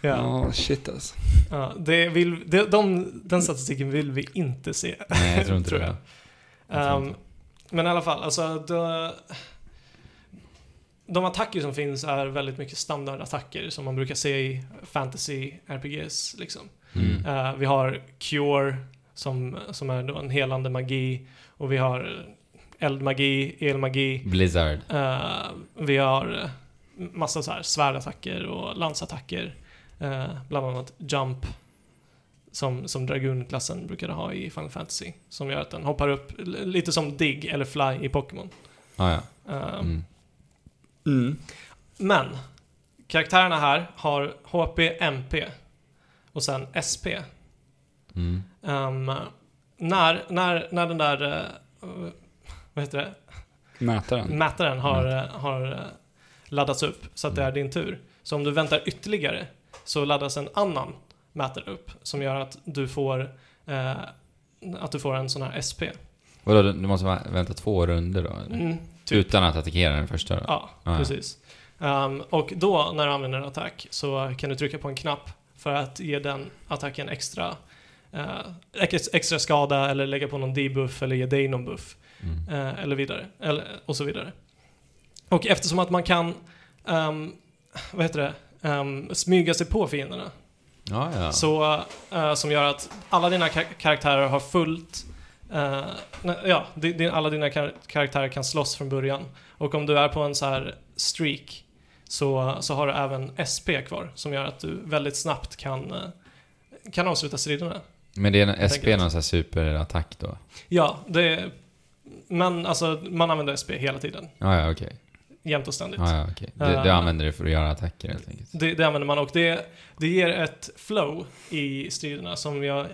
Ja.
Ja.
Ja, shit alltså.
det vill, det, de, den statistiken vill vi inte se.
Nej, jag tror inte
Tror
det.
jag.
Jag tror
Ehm,
inte.
men i alla fall, alltså de, de attacker som finns är väldigt mycket standardattacker som man brukar se i fantasy RPGs liksom.
Mm.
Eh, vi har Cure som, som är då en helande magi och vi har eldmagi, elmagi.
Blizzard.
Eh, vi har eh, massa så här svärdattacker och lansattacker. Eh, bland annat Jump som, som Dragoon-klassen brukade ha i Final Fantasy. Som gör att den hoppar upp l- lite som Dig eller Fly i Pokémon.
Ah, ja.
Eh,
mm.
Mm.
Men karaktärerna här har HP, MP och sen SP.
Mm.
Ehm, när, när, när den där, eh, vad heter det,
Mätaren.
mätaren har, eh, har eh, laddats upp så att det är din tur. Så om du väntar ytterligare så laddas en annan mätare upp som gör att du får, eh, att du får en sån här SP.
Vadå, du du måste va- vänta två runder då? eller?
Mm,
Utan att attackera den första då?
ja,
Ah, ja.
precis. Ehm, och då när du använder en attack så kan du trycka på en knapp för att ge den attacken extra, eh, ex- extra skada eller lägga på någon debuff eller ge dig någon buff.
Mm.
Eh, eller vidare, eller, och så vidare. Och eftersom att man kan, ehm, vad heter det, Ehm, smyga sig på fienderna.
Ja, ja.
Så, eh, som gör att alla dina kar- karaktärer har fullt, eh, nej, ja, di- di- alla dina kar- karaktärer kan slåss från början. Och om du är på en så här streak så, så har du även SP kvar som gör att du väldigt snabbt kan, eh, kan avsluta striderna.
Men det är en SP,
tänker att-
någon sån här superattack då?
Ja, det, men alltså man använder SP hela tiden,
Ah, ja, okej.
jämt och ständigt.
Ah, ja, okej. Du, du
Eh,
använder det för att göra attacker helt enkelt?
Det, det använder man och det, det ger ett flow i striderna som jag,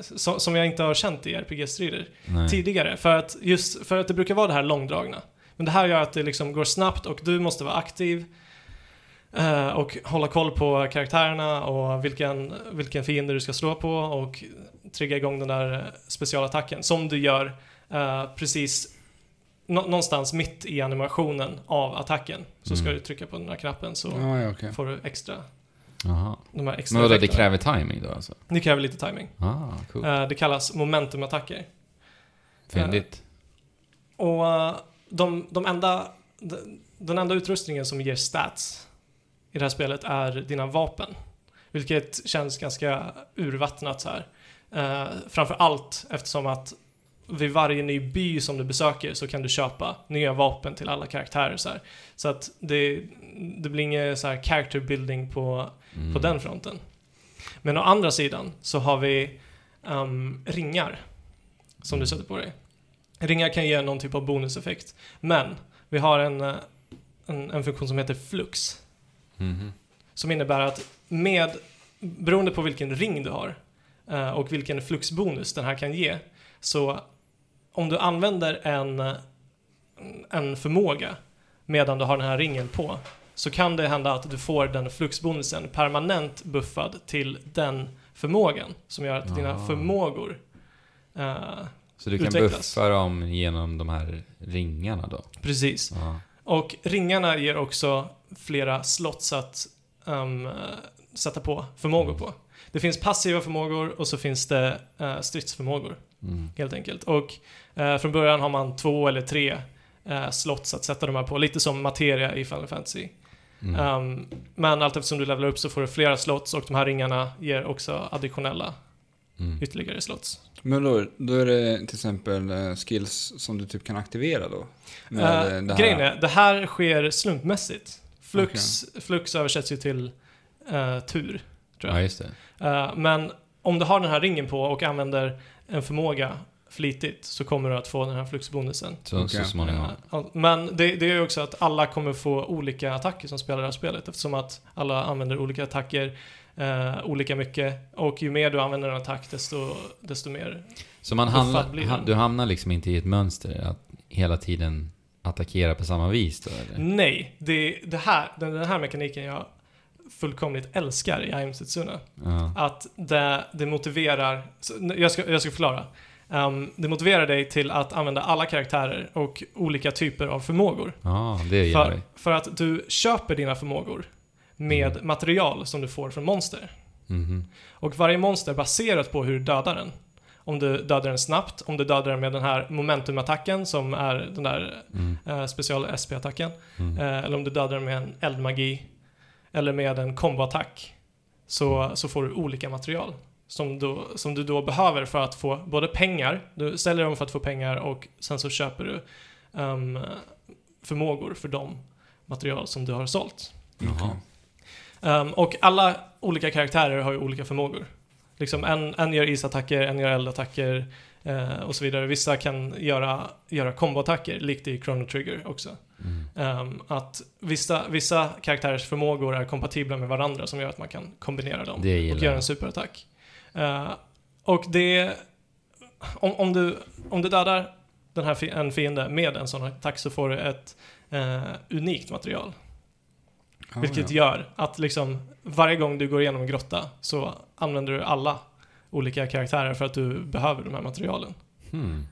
som, som jag inte har känt i RPG-strider
Nej.
tidigare. För att, just för att det brukar vara det här långdragna. Men det här gör att det liksom går snabbt och du måste vara aktiv eh, och hålla koll på karaktärerna och vilken, vilken fiende du ska slå på och trigga igång den där eh, specialattacken som du gör eh, precis nå- någonstans mitt i animationen av attacken. Så ska
Mm.
du trycka på den där knappen så
Ja, ja, okej.
får du extra,
Jaha.
de här extra
Men vadå, det
effekterna.
kräver timing då alltså?
det kräver lite timing.
Ah, coolt.
Eh, Det kallas momentumattacker.
Fyndigt.
Och eh, de, de enda, de, den enda utrustningen som ger stats i det här spelet är dina vapen. Vilket känns ganska urvattnat så här. Eh, framför allt eftersom att vid varje ny by som du besöker så kan du köpa nya vapen till alla karaktärer så här. Så att det, det blir ingen så här character building på
Mm.
på den fronten. Men å andra sidan så har vi ehm, ringar som du sätter på dig. Ringar kan ge någon typ av bonuseffekt, men vi har en, eh, en, en funktion som heter flux
Mhm.
som innebär att med, beroende på vilken ring du har eh, och vilken fluxbonus den här kan ge, så om du använder en, eh, en förmåga medan du har den här ringen på, så kan det hända att du får den fluxbonusen permanent buffad till den förmågan som gör att dina
Ah.
förmågor eh,
Så du kan
Utvecklas.
buffa dem genom de här ringarna då?
Precis.
Ja.
Och ringarna ger också flera slots att ehm, sätta på förmågor på. Det finns passiva förmågor och så finns det eh, stridsförmågor
Mm.
helt enkelt. Och eh, från början har man två eller tre eh, slots att sätta de här på, lite som materia i Final Fantasy.
Mm.
Ehm, men allt eftersom du levlar upp så får du flera slots och de här ringarna ger också additionella
Mm.
ytterligare slots.
Men då, då är det till exempel eh, skills som du typ kan aktivera då? Med
Eh,
eh, det här.
Grejen är, det här sker slumpmässigt. Flux, flux översätts ju till eh, tur, tror
Ja,
jag.
just det.
Eh, men om du har den här ringen på och använder en förmåga flitigt så kommer du att få den här fluxbonusen.
Så, så
Okej.
småningom.
Eh, all- Men det, det är ju också att alla kommer få olika attacker som spelar det här spelet eftersom att alla använder olika attacker eh, olika mycket och ju mer du använder en attack desto, desto mer.
Så man
Då
hamnar,
fabblar
ha,
den.
du hamnar liksom inte i ett mönster att hela tiden attackera på samma vis då eller?
Nej, det, det här, den, den här mekaniken jag fullkomligt älskar i I'm Setsuna.
Ja.
att det, det motiverar, så, n- jag ska, jag ska förklara. Ehm, det motiverar dig till att använda alla karaktärer och olika typer av förmågor.
Ja, det gillar
För,
vi.
för att du köper dina förmågor med
Mm.
material som du får från monster.
Mhm.
Och varje monster baserat på hur du dödar den. Om du dödar den snabbt, om du dödar den med den här momentumattacken som är den där
Mm.
eh, special SP-attacken.
Mm.
Eh, eller om du dödar den med en eldmagi. Eller med en komboattack. Så, så får du olika material. Som, då, som du då behöver för att få både pengar, du säljer dem för att få pengar och sen så köper du ehm, förmågor för de material som du har sålt.
Okej.
Ehm, och alla olika karaktärer har ju olika förmågor. Liksom en, en gör isattacker, en gör eldattacker eh, och så vidare. Vissa kan göra, göra komboattacker, likt i Chrono Trigger också.
Mm.
Ehm, att vissa, vissa karaktärers förmågor är kompatibla med varandra som gör att man kan kombinera dem
Det
och
gillar
göra en
jag.
superattack. Eh, och det... Om, om, du, om du dödar den här fi- en fiende med en sån attack så får du ett eh, unikt material.
Ah,
vilket
ja.
gör att liksom varje gång du går igenom en grotta så använder du alla olika karaktärer för att du behöver de här materialen.
Hmm.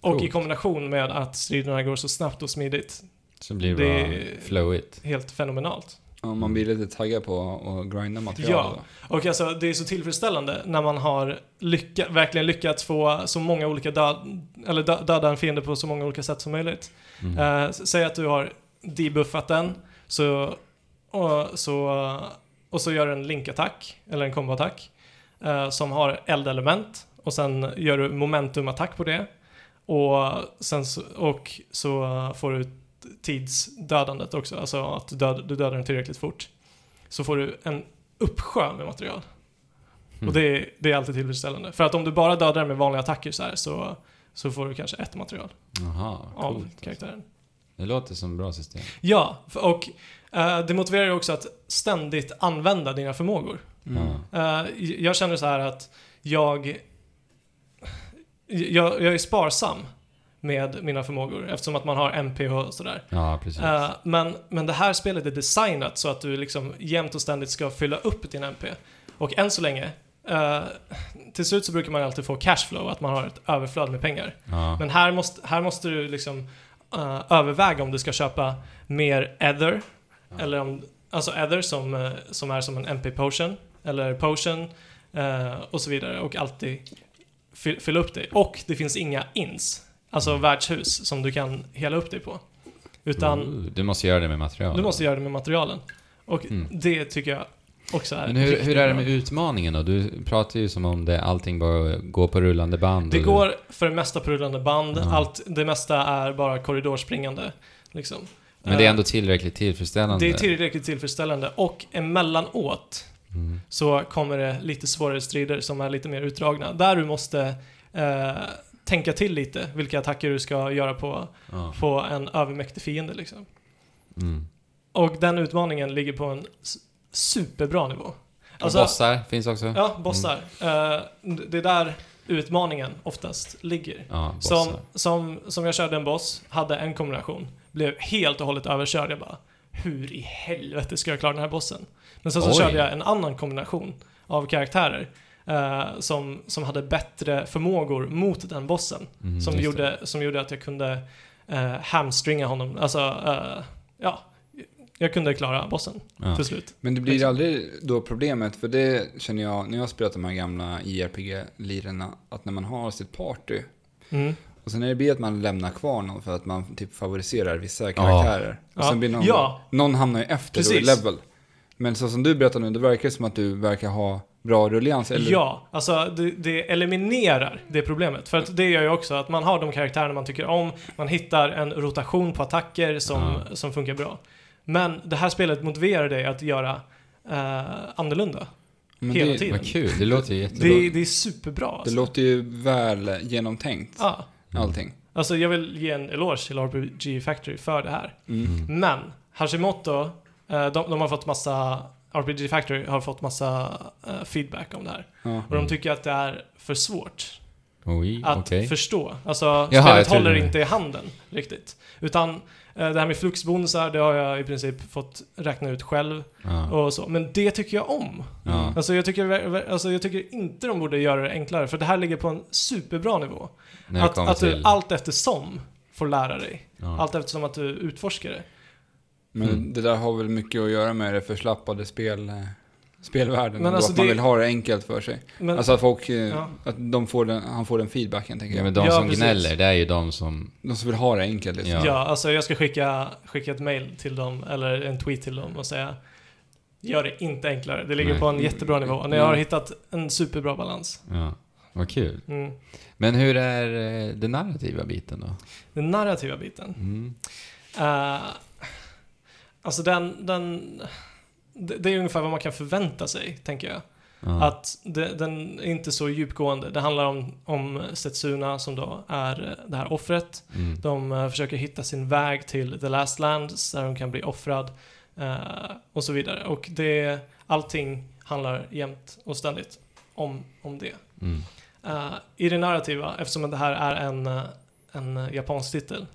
Och i
Coolt.
kombination med att striderna går så snabbt och smidigt,
Så blir det,
Det-
bara flowigt.
helt fenomenalt.
Ja, man blir lite taggad på att grinda material
Ja.
då.
Och alltså det är så tillfredsställande när man har lycka, verkligen lyckats få så många olika död, eller dö, döda en fiende på så många olika sätt som möjligt.
Mm.
Eh, s- säg att du har debuffat den så, och, så, och så gör du en linkattack eller en komboattack eh, som har eldelement och sen gör du momentumattack på det och, sen så, och så får du t- tidsdödandet också, alltså att du, död, du dödar den tillräckligt fort. Så får du en uppsjö med material.
Mm.
ehm, Och det är, det är alltid tillfredsställande. För att om du bara dödar den med vanliga attacker så här så, så får du kanske ett material
Jaha,
av
coolt. alltså.
karaktären.
Det låter som ett bra system.
Ja, f- och eh, det motiverar ju också att ständigt använda dina förmågor.
Mm.
Ja.
Eh, j- jag känner så här att jag, jag, jag är sparsam med mina förmågor eftersom att man har MPH och sådär.
Ja, precis.
Eh, men, men det här spelet är designat så att du liksom jämt och ständigt ska fylla upp din MP. Och än så länge, eh, till slut så brukar man alltid få cashflow, att man har ett överflöd med pengar.
ja.
Men här måste, här måste du liksom eh, överväga om du ska köpa mer ether,
Ja.
eller om, alltså ether som, eh, som är som en MP potion, eller potion eh, och så vidare och alltid fy- fylla upp dig. Och det finns inga ins, alltså
Mm.
värdshus som du kan hela upp dig på. Utan
Ooh, du måste göra det med material.
du måste göra det med materialen. Och
Mm.
det tycker jag också är
Men hur,
riktigt
hur är det
bra.
med utmaningen då? Du pratar ju som om det, allting bara går på rullande band.
Det
och-
går för det mesta på rullande band,
Ja.
allt, det mesta är bara korridorspringande. Liksom.
Men det är
Eh,
ändå tillräckligt tillfredsställande.
Det är tillräckligt tillfredsställande och emellanåt
Mm.
så kommer det lite svårare strider som är lite mer utdragna. Där du måste eh, tänka till lite vilka attacker du ska göra på,
Ja.
på en övermäktig fiende. Liksom.
Mm.
Och den utmaningen ligger på en s- superbra nivå. Alltså-
och bossar finns också.
Ja, bossar. Eh, det är där utmaningen oftast ligger.
Ja, bossar.
Som, som, som jag körde en boss, hade en kombination, blev helt och hållet överkörd. Jag bara, hur i helvete ska jag klara den här bossen? Men sen så
Oj.
körde jag en annan kombination av karaktärer eh, som, som hade bättre förmågor mot den bossen.
Mm,
Som,
just det.
gjorde, som gjorde att jag kunde eh, hamstringa honom, alltså, eh, ja, jag kunde klara bossen
Ja.
till slut.
Men det blir
Liksom.
aldrig då problemet, för det känner jag när jag har spelat de här gamla JRPG-lirarna, att när man har sitt party,
Mm.
och sen är det blir att man lämnar kvar någon för att man typ favoriserar vissa karaktärer. Och
Ja.
sen blir någon,
Ja.
någon hamnar ju efter då i
Precis.
level. Men så som du berättar nu, det verkar ju som att du verkar ha bra rullians. Eller?
Ja, alltså det, det eliminerar det problemet. För att det gör ju också att man har de karaktärerna man tycker om, man hittar en rotation på attacker som, som funkar bra. Men det här spelet motiverar dig att göra eh, annorlunda.
Men
hela
det,
tiden.
Vad kul, det låter ju jättebra.
Det, det är superbra
det
alltså.
låter ju väl genomtänkt,
Ja,
allting.
alltså jag vill ge en eloge till RPG Factory för det här.
Mm.
Mm.
Men Hashimoto, eh, de, de har fått massa, RPG Factory har fått massa eh, feedback om det här.
Ja.
Och
Mm.
de tycker att det är för svårt.
Oj,
att
okej.
förstå. Alltså,
jag
spelet
trodde
håller
det.
inte i handen riktigt. Utan eh, det här med fluxbonusar, det har jag i princip fått räkna ut själv
Ja.
och så. Men det tycker jag om.
Ja.
Alltså jag, tycker, ver- ver- alltså jag tycker inte de borde göra det enklare, för det här ligger på en superbra nivå.
När det
Att,
kommer
att du
till...
allt eftersom får lära dig.
ja.
Allt eftersom att du utforskar det.
Men
Mm.
det där har väl mycket att göra med det förslappade spel, eh, spelvärlden.
Men
Men
alltså
att man
det-
vill ha det enkelt för sig.
Men,
alltså att folk, eh,
ja.
att de får den, han får den feedbacken tänker
Ja,
jag.
men de
Ja,
som
precis.
gnäller, det är ju de som...
De som vill ha det enkelt liksom.
Ja.
ja. alltså jag ska skicka, skicka ett mail till dem, eller en tweet till dem och säga Gör det inte enklare. Det ligger
Nej.
på en jättebra nivå. Ni har
Mm.
hittat en superbra balans.
Ja. Vad kul.
Mm.
Men hur är eh, den narrativa biten då?
Den narrativa biten.
Mm.
Eh, alltså den, den... Det det är ungefär vad man kan förvänta sig, tänker jag.
Ja.
Att det, den är inte så djupgående. Det handlar om, om Setsuna som då är eh, det här offret.
Mm.
De eh, försöker hitta sin väg till The Last Lands där hon kan bli offrad eh, och så vidare. Och det, allting handlar jämt och ständigt om, om det.
Mm.
Eh, I det narrativa, eftersom det här är en, eh, en eh, japansk titel,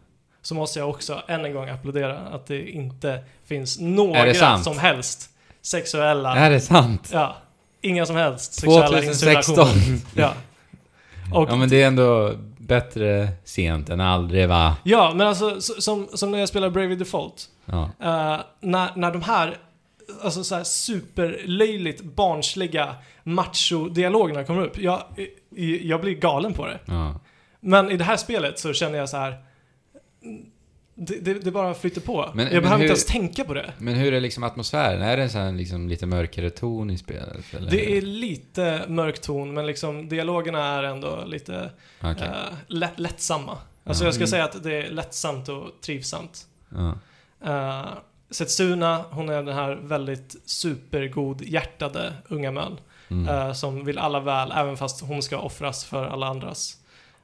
så måste jag också än en gång applådera att det inte finns
Är det
några
sant? Äh?
som helst sexuella...
Är det sant?
Ja, inga som helst sexuella
2016!
insinuationer. Ja. Och,
Ja men det är ändå bättre sent än aldrig va?
ja, men alltså s- som, som när jag spelar Bravely Default,
Ja.
Eh, när, när de här alltså så här superlöjligt barnsliga macho-dialogerna kommer upp. Jag, i- jag blir galen på det.
ja.
Men i det här spelet så känner jag så här. mm, Det, det, det bara flyter på.
Men-
jag
men
behöver
hur-
inte ens tänka på det.
Men hur är liksom atmosfären? Är det en sån här liksom lite mörkare ton i spelet? Eller?
Det är lite mörk ton, men liksom dialogerna är ändå lite
Okej.
eh, lätt, lättsamma. Alltså
Ja.
jag ska
Mm.
säga att det är lättsamt och trivsamt.
Ja.
Eh, Setsuna, hon är den här väldigt supergodhjärtade unga män.
Mm.
eh, som vill alla väl, även fast hon ska offras för alla andras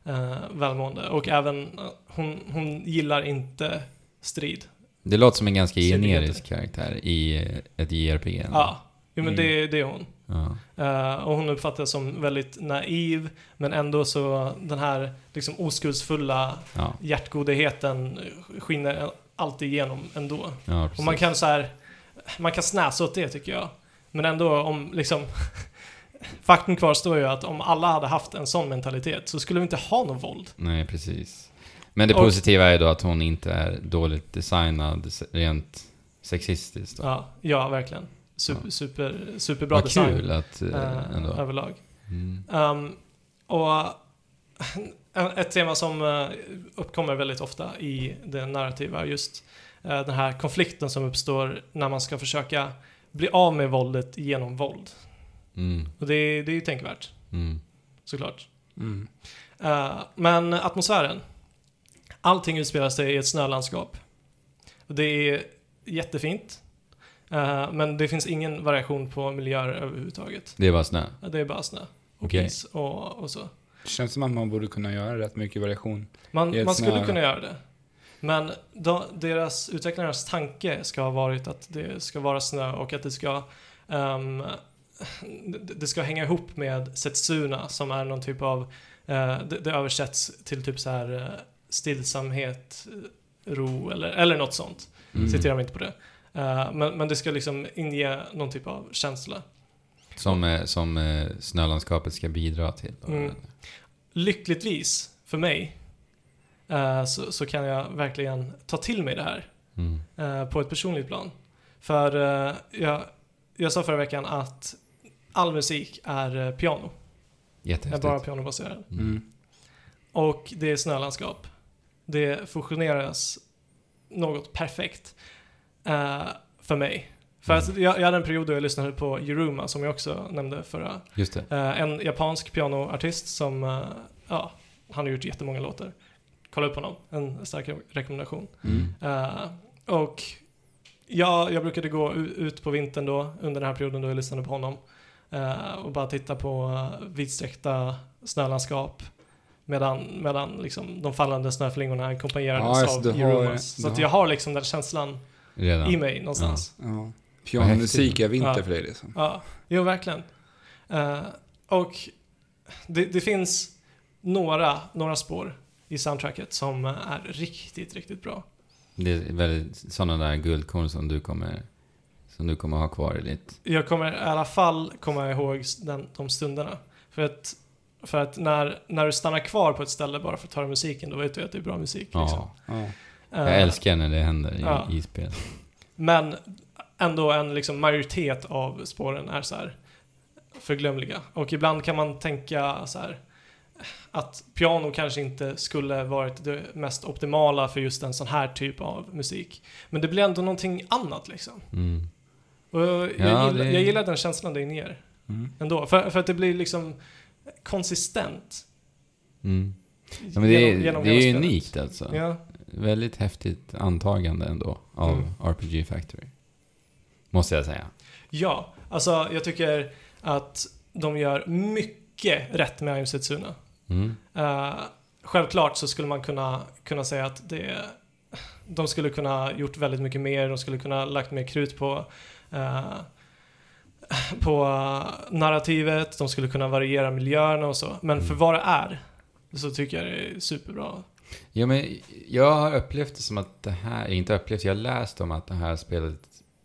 eh, välmående. Och även, eh, hon, hon gillar inte strid.
Det låter som en ganska
Ser du
generisk karaktär i eh, ett JRPG.
Ja, jo, men
Mm.
det, det är hon.
Ja.
Eh, och hon uppfattas som väldigt naiv, men ändå så den här liksom oskuldsfulla
Ja,
hjärtgodheten skiner alltid igenom ändå.
ja precis.
Och man kan så här, man kan snäsa åt det tycker jag. Men ändå om liksom, faktum kvarstår ju att om alla hade haft en sån mentalitet så skulle vi inte ha något våld.
Nej, precis. Men det
Och-
positiva är då att hon inte är dåligt designad se- rent sexistiskt. Då.
Ja, ja verkligen. Super,
Ja.
super, superbra
Vad
design
kul att...
eh,
Eh, ändå.
överlag.
Mm.
Ehm, och en- ett tema som eh, uppkommer väldigt ofta i det narrativa är just eh, den här konflikten som uppstår när man ska försöka bli av med våldet genom våld.
Mm.
Och det, det är ju tänkvärt,
Mm.
såklart.
Mm.
Eh, men atmosfären. Allting utspelar sig i ett snölandskap. Det är jättefint. eh, men det finns ingen variation på miljöer överhuvudtaget.
Det är bara snö.
Det är bara snö och
Okej.
is och, och så.
Det känns som att man borde kunna göra rätt mycket variation.
Man,
Helt
man skulle
snarare.
kunna göra det. Men de, deras, utvecklarnas tanke ska ha varit att det ska vara snö och att det ska ehm, det det ska hänga ihop med setsuna som är någon typ av eh, det, det översätts till typ så här eh, stillsamhet, eh, ro eller, eller något sånt.
Mm.
Citerar mig inte på det. Eh, men, men det ska liksom inge någon typ av känsla.
Som, eh, som eh, snölandskapet ska bidra till. Då.
Mm. Lyckligtvis, för mig, eh, så, så kan jag verkligen ta till mig det här.
Mm.
eh, på ett personligt plan. För eh, jag, jag sa förra veckan att all musik är eh, piano. Är
Jättehäftigt.
bara pianobaserad.
Mm.
Och det är snölandskap. Det fusioneras något perfekt eh, för mig. För
Mm.
att jag, jag hade en period då jag lyssnade på Yuruma som jag också nämnde förra
Just det.
Eh, en japansk pianoartist som, eh, ja, han har gjort jättemånga låtar. Kolla upp honom, en stark re- rekommendation.
Mm.
Eh, och jag, jag brukade gå u- ut på vintern då, under den här perioden då jag lyssnade på honom. eh, och bara titta på eh, vidsträckta snölandskap. Medan, medan liksom de fallande snöflingorna ackompanjerades
Ja, alltså,
av
du har-
Euromas. Så
du
att
har-
jag har liksom den känslan
Redan.
i mig någonstans.
Ja. Pianomusik är vinter
Ja.
för dig liksom.
Ja, jo verkligen. Eh, och det, det finns några, några spår i soundtracket som är riktigt, riktigt bra.
Det är väldigt sådana där guldkorn som du kommer, som du kommer ha kvar i ditt...
Jag kommer i alla fall komma ihåg den, de stunderna. För att, för att när, när du stannar kvar på ett ställe bara för att höra musiken, då vet du att det är bra musik. Liksom.
Ja.
Ja.
Eh,
Jag älskar när det händer i,
Ja.
i spel.
Men ändå en liksom majoritet av spåren är så här förglömliga. Och ibland kan man tänka så här att piano kanske inte skulle varit det mest optimala för just en sån här typ av musik. Men det blir ändå någonting annat liksom.
Mm.
Och jag,
Ja,
gillar,
det-
jag gillar den känslan det inger
Mm.
ändå. För, för att det blir liksom konsistent.
Mm. Ja, men det, är-
genom- genom
det är ju
hela spelet.
unikt alltså.
Ja.
Väldigt häftigt antagande ändå av
Mm.
RPG Factory. Måste jag säga.
ja, alltså jag tycker att de gör mycket rätt med Ayum Setsuna.
Mm.
Eh, självklart så skulle man kunna, kunna säga att det, de skulle kunna gjort väldigt mycket mer, de skulle kunna lagt mer krut på, eh, på eh, narrativet, de skulle kunna variera miljöerna och så. Men för vad det är så tycker jag det är superbra.
Ja, men jag har upplevt det som att det här, inte upplevt, jag har läst om att det här spelet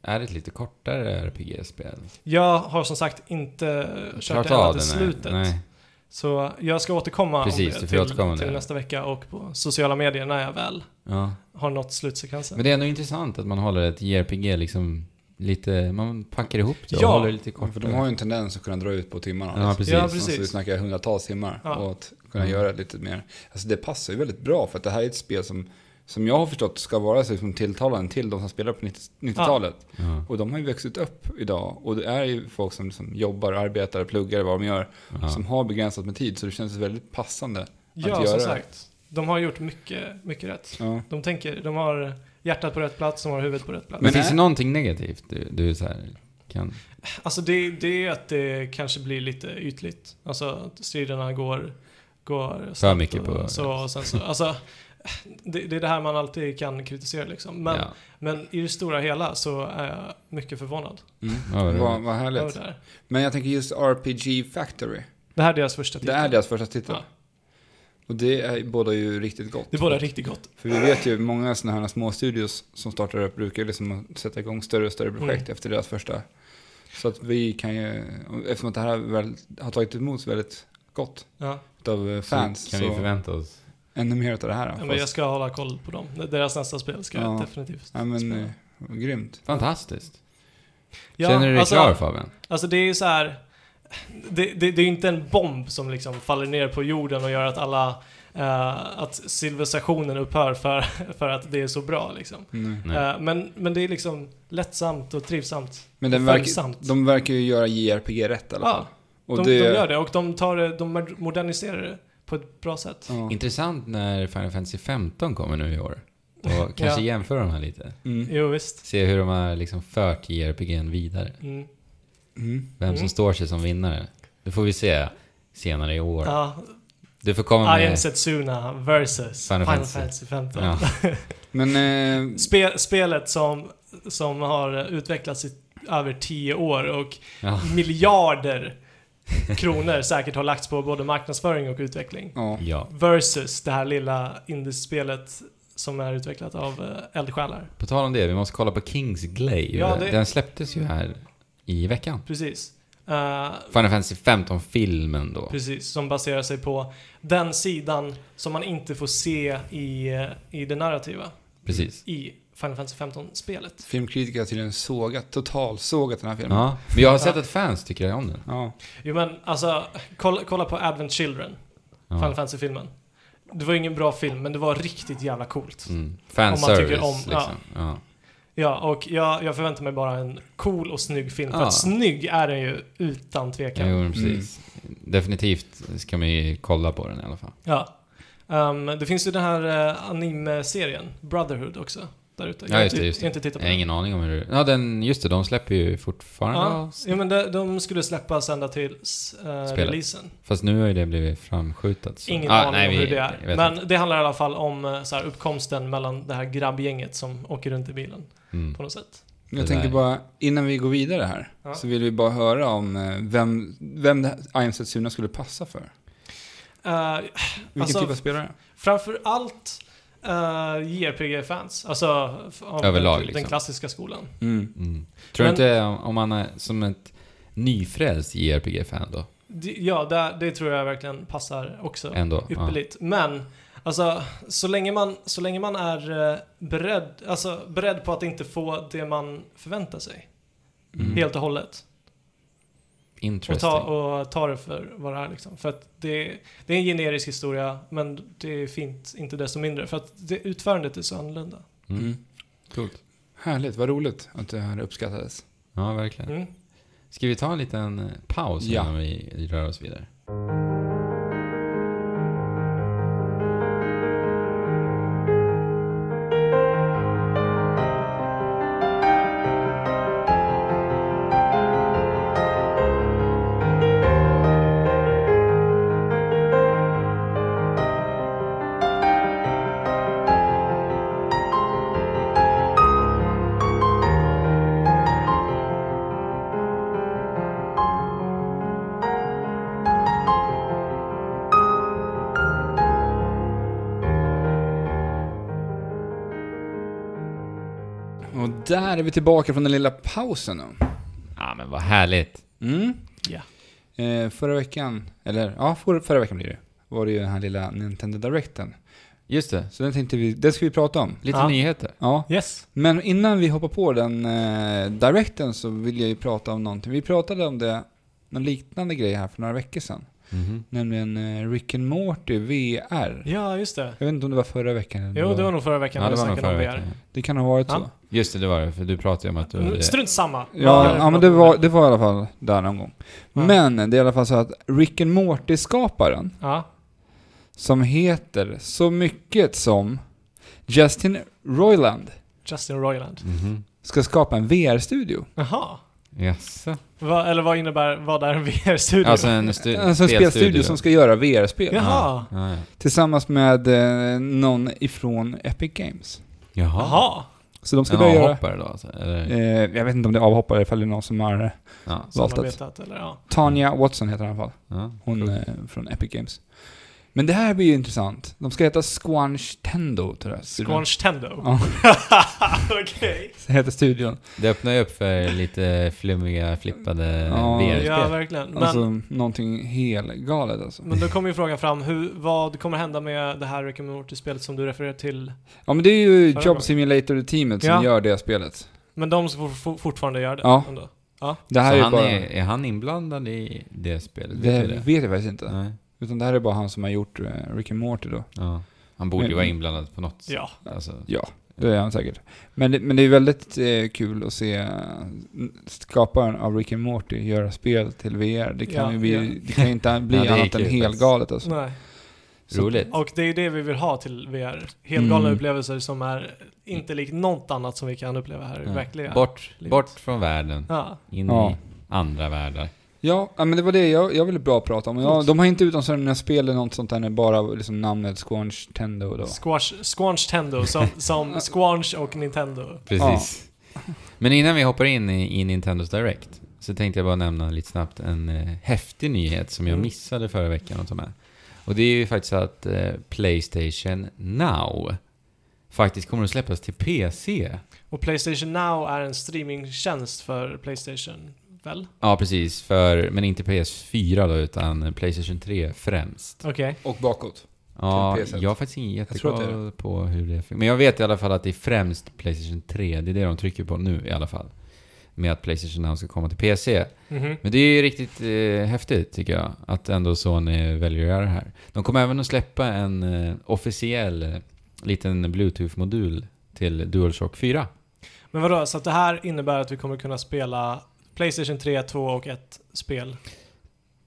är ett lite kortare RPG-spel.
Jag har som sagt inte kört
Klart
det ända
av
till
den här.
slutet.
Nej.
Så jag ska återkomma
Precis,
om
du
det
får återkomma om
till, till
det.
nästa vecka och på sociala medier när jag väl
Ja.
har nått slutsekvensen.
Men det är ändå intressant att man håller ett JRPG liksom lite, man packar ihop det och
Ja.
håller det lite
Ja, För
kortare.
de har ju en tendens att kunna dra ut på timmarna.
Ja, precis.
Ja,
Precis.
precis.
Vi snackar hundratals timmar
Ja.
och att kunna
Mm.
göra lite mer. Alltså det passar ju väldigt bra för att det här är ett spel som, som jag har förstått ska vara så liksom tilltalande till de som spelar på 90- 90-talet.
Ja.
Och de har ju vuxit upp idag och det är ju folk som, som jobbar, arbetar, pluggar, vad de gör,
Ja.
som har begränsat med tid så det känns väldigt passande.
ja,
att
som
göra.
sagt. De har gjort mycket, mycket rätt.
Ja.
De tänker, de har hjärtat på rätt plats, de har huvudet på rätt plats.
Men
Men
finns
är-
det någonting negativt du, du så här kan...
Alltså det, det är att det kanske blir lite ytligt. Alltså att striderna går, går snabbt
mycket
och
på-
så och sen så. Alltså det, det är det här man alltid kan kritisera liksom. Men,
Ja.
men i det stora hela så är jag mycket förvånad
Mm.
Ja, vad
vad,
roligt.
vad
över
härligt.
det här.
Men jag tänker just RPG Factory.
Det här är deras första
Det
titel.
är deras första titel.
Ja.
Och det är båda ju riktigt gott.
Det är båda riktigt gott.
För vi vet ju många sådana här små studios som startar upp brukar liksom sätta igång större och större projekt
Mm.
efter deras första. Så att vi kan ju, eftersom att det här väl, har tagit emot väldigt gott
Ja.
av fans,
Så
så,
kan vi förvänta oss.
ännu mer av det här.
Ja,
Fast-
men jag ska hålla koll på dem. Deras nästa spel ska
Ja.
jag definitivt
ja, men
spela.
eh, grymt.
Fantastiskt.
Ja,
Känner du dig
alltså,
klar Fabian?
Alltså det är ju så här. Det, det, det är ju inte en bomb som liksom faller ner på jorden och gör att alla eh, att civilisationen upphör för, för att det är så bra liksom.
Mm.
Nej.
Eh, men, men det är liksom lättsamt och trivsamt.
Men den
och
verkar,
följsamt.
de verkar ju göra JRPG rätt i alla fall.
Ja,
och
de, de gör det och de, tar, det- de moderniserar det på ett bra sätt.
Ja.
Intressant när Final Fantasy 15 kommer nu i år. Och kanske
Ja.
jämföra de här lite.
Mm.
Jo, visst.
Se hur de har liksom fört JRPG'n vidare.
Mm.
Mm.
Vem som
Mm.
står sig som vinnare. Det får vi se senare i år.
Ja,
Du får komma
I am
med...
Setsuna versus Final,
Final
Fantasy
Fantasy.
15.
Ja.
Men eh,
Spe, spelet som, som har utvecklats i över 10 år och
Ja.
miljarder kronor säkert har lagts på både marknadsföring och utveckling.
ja.
ja.
Versus det här lilla indiespelet som är utvecklat av eh, eldsjälar.
På tal om det, vi måste kolla på Kings Glaive.
Ja, det-
Den släpptes ju här i veckan.
Precis. Eh,
Final Fantasy 15-filmen då.
Precis, som baserar sig på den sidan som man inte får se i, eh, i det narrativa
Precis.
i Final Fantasy 15-spelet.
filmkritiker har tydligen sågat, totalsågat den här filmen.
Ja. Men jag har sett att fans tycker om den.
Ja.
Jo men alltså, kolla, kolla på Advent Children, Final
Ja.
Fantasy-filmen. Det var ingen bra film, men det var riktigt jävla coolt.
Mm.
Om man
Fanservice
tycker om- ja.
liksom. Ja.
Ja, och jag, jag förväntar mig bara en cool och snygg film. För
Ja.
att snygg är den ju utan tvekan.
Jo, men precis.
Mm.
Definitivt ska man ju kolla på den i alla fall.
Ja. Ehm, det finns ju den här eh, anime-serien, Brotherhood också, där ute.
Ja,
har
just det,
inte-
just det.
Jag har inte
Jag
tittat på
har
den.
ingen aning om hur det... Ja, den, just det, de släpper ju fortfarande
Ja,
avsnitt.
ja men de, de skulle släppas ända tills eh, releasen.
Fast nu har ju det blivit framskjutet. så-
Ingen
Ah,
aning
nej,
om
vi-
hur det
jag
är.
vet
Men
inte.
det handlar i alla fall om eh, så här, uppkomsten mellan det här grabbgänget som åker runt i bilen
Mm.
på något sätt.
Jag
Det
tänker
där.
bara, innan vi går vidare här,
Ja.
så vill vi bara höra om eh, vem, vem det här I am Setsuna skulle passa för.
Eh,
Vilken
Alltså,
typ av spelare?
framför allt eh, JRPG-fans. Alltså f- av
Överlag,
den,
liksom.
den klassiska skolan.
Mm.
Mm. Tror du
Men-
inte om- om man är som ett nyfrälst JRPG-fan då?
Det- ja, det, det tror jag verkligen passar också.
Ändå. Ja.
Ypperligt. Men, alltså, så länge man, så länge man är eh, beredd, alltså, beredd på att inte få det man förväntar sig.
Mm.
Helt och hållet. Och
Interesting.
ta, och ta det för vad det är liksom. För att det, det är en generisk historia, men det är fint, inte desto mindre. För att det, utförandet är så annorlunda.
Mm.
Mm.
Coolt.
Härligt, vad roligt att det här uppskattades.
Ja, verkligen.
Mm.
Ska vi ta en liten eh, paus
Ja.
innan vi rör oss vidare?
Och där är vi tillbaka från den lilla pausen då.
Ja, men vad härligt.
Mm.
Ja.
Eh, förra veckan, eller ja, förra, förra veckan blir det var det ju den här lilla Nintendo Directen.
Just det.
Så den tänkte vi, den ska vi prata om.
Lite
Ja.
nyheter.
Ja,
Yes.
Men innan vi hoppar på den eh, directen så vill jag ju prata om någonting. Vi pratade om det, någon liknande grej här för några veckor sedan.
Mhm.
Nämligen eh, Rick and Morty VR.
Ja, just det.
Jag vet inte om det var förra veckan eller
Jo, det var nog förra veckan
Ja,
när
det
vi
var nog
snackade
förra
om
veckan.
VR.
Det kan ha varit så.
Ja.
Just det, det var det. För du pratade ju om att du...
Mm, Strunt samma. Vad är
Ja,
det
ja,
för
men det
något?
var, det var i alla fall där någon gång.
Ja.
Men det är i alla fall så att Rick and Morty-skaparen,
Ja.
som heter så mycket som Justin Roiland,
Justin Roiland.
Mhm.
ska skapa en VR-studio.
Jaha.
Jaså?
Va, eller vad innebär, vad är en VR-studio?
Alltså en stu-
Alltså en spelstudio som ska göra VR-spel.
Ja.
Jaha. Ja, ja.
Tillsammans med eh, någon ifrån Epic Games.
Jaha.
Jaha.
Så de ska
En
börja göra...
avhoppare då alltså? Eller?
Eh, jag vet inte om det är avhoppare, ifall det är någon som har... eh,
Ja.
Valt att-
Samarbetat eller ja.
Tanya Watson heter hon i alla fall.
ja.
Hon eh, från Epic Games. Men det här blir ju intressant. De ska heta Squanch Tendo, tror jag.
Squanch Tendo.
Ja,
Okej.
det heter studion.
Det öppnar ju upp för lite flummiga, flippade
Ja.
VR-spel.
Ja, verkligen. Men,
Alltså, någonting helgalet alltså.
men då kommer ju frågan fram, hur, vad kommer hända med det här Rick and Morty-spelet som du refererar till?
Ja men det är ju
Förra
Job
gången.
Simulator-teamet som
Ja.
gör det spelet.
Men de får for- fortfarande göra det?
Ja.
Ändå.
Det här
så
är
han
ju bara...
är, är han inblandad i det spelet?
Det
Vet vi det?
vet jag faktiskt inte.
Nej.
Utan det här är bara han som har gjort eh, Rick and Morty då.
Ja. Han borde ju
Men-
vara inblandad på något sätt.
Ja.
Alltså,
Mm. Ja, det är han säkert. Men det, men det är väldigt eh, kul att se eh, skaparen av Rick and Morty göra spel till VR. Det kan
Ja,
ju bli,
ja.
det kan ju inte bli
Ja, det är
annat än
kul faktiskt.
helgalet alltså.
Nej.
Så-
roligt.
Och det är ju det vi vill ha till VR. Helgalna
Mm.
upplevelser som är inte likt något annat som vi kan uppleva här i
Ja.
verkliga
Bort,
livet.
bort från världen,
Ja.
in
Ja.
i andra världar.
Ja, ja, men det var det jag, jag ville bra prata om. Jag, de har inte ut någon sån här spel eller något sånt där, bara liksom namnet Squanch Tendo då.
Squash, Squanch Tendo, som, som Squanch och Nintendo.
Precis. Men innan vi hoppar in i, i Nintendos Direct så tänkte jag bara nämna lite snabbt en eh, häftig nyhet som jag
Mm.
missade förra veckan att ta med. Och det är ju faktiskt att eh, Playstation Now faktiskt kommer att släppas till PC.
Och Playstation Now är en streamingtjänst för Playstation, väl?
Ja, precis. För, men inte PS4 då, utan Playstation 3 främst.
Okej.
Och bakåt.
Ja,
PS1.
jag har faktiskt ingen
Jag tror att det är
jättekoll på hur det Men jag vet i alla fall att det är främst Playstation 3. Det är det de trycker på nu i alla fall. Med att Playstation Now ska komma till PC.
Mhm.
Men det är ju riktigt eh, häftigt tycker jag, att ändå Sony väljer att göra det här. De kommer även att släppa en eh, officiell eh, liten Bluetooth-modul till DualShock 4.
Men vadå, så att det här innebär att vi kommer kunna spela Playstation 3, 2 och 1 spel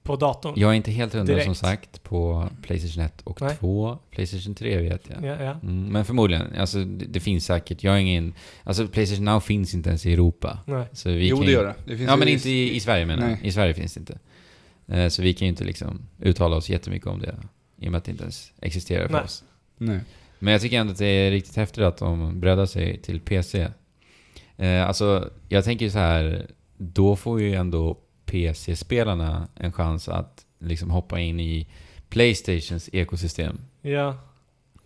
på datorn?
Jag är inte helt hundra
Direkt.
som sagt på Playstation 1 och
Nej.
2. Playstation 3 vet jag.
Ja, ja.
Mm, men förmodligen, alltså det, det finns säkert. Jag har ingen... Alltså Playstation Now finns inte ens i Europa.
Nej.
Så vi
jo,
kan
det
ju-
gör det. det finns
Ja,
ju
men inte i, i Sverige menar jag.
Nej.
I Sverige finns det inte. Eh, så vi kan ju inte liksom uttala oss jättemycket om det. I och med att det inte ens existerar för
Nej.
oss.
Nej.
Men jag tycker ändå att det är riktigt häftigt att de breddar sig till PC. Eh, alltså, jag tänker ju så här, då får ju ändå PC-spelarna en chans att liksom hoppa in i Playstations ekosystem.
Ja.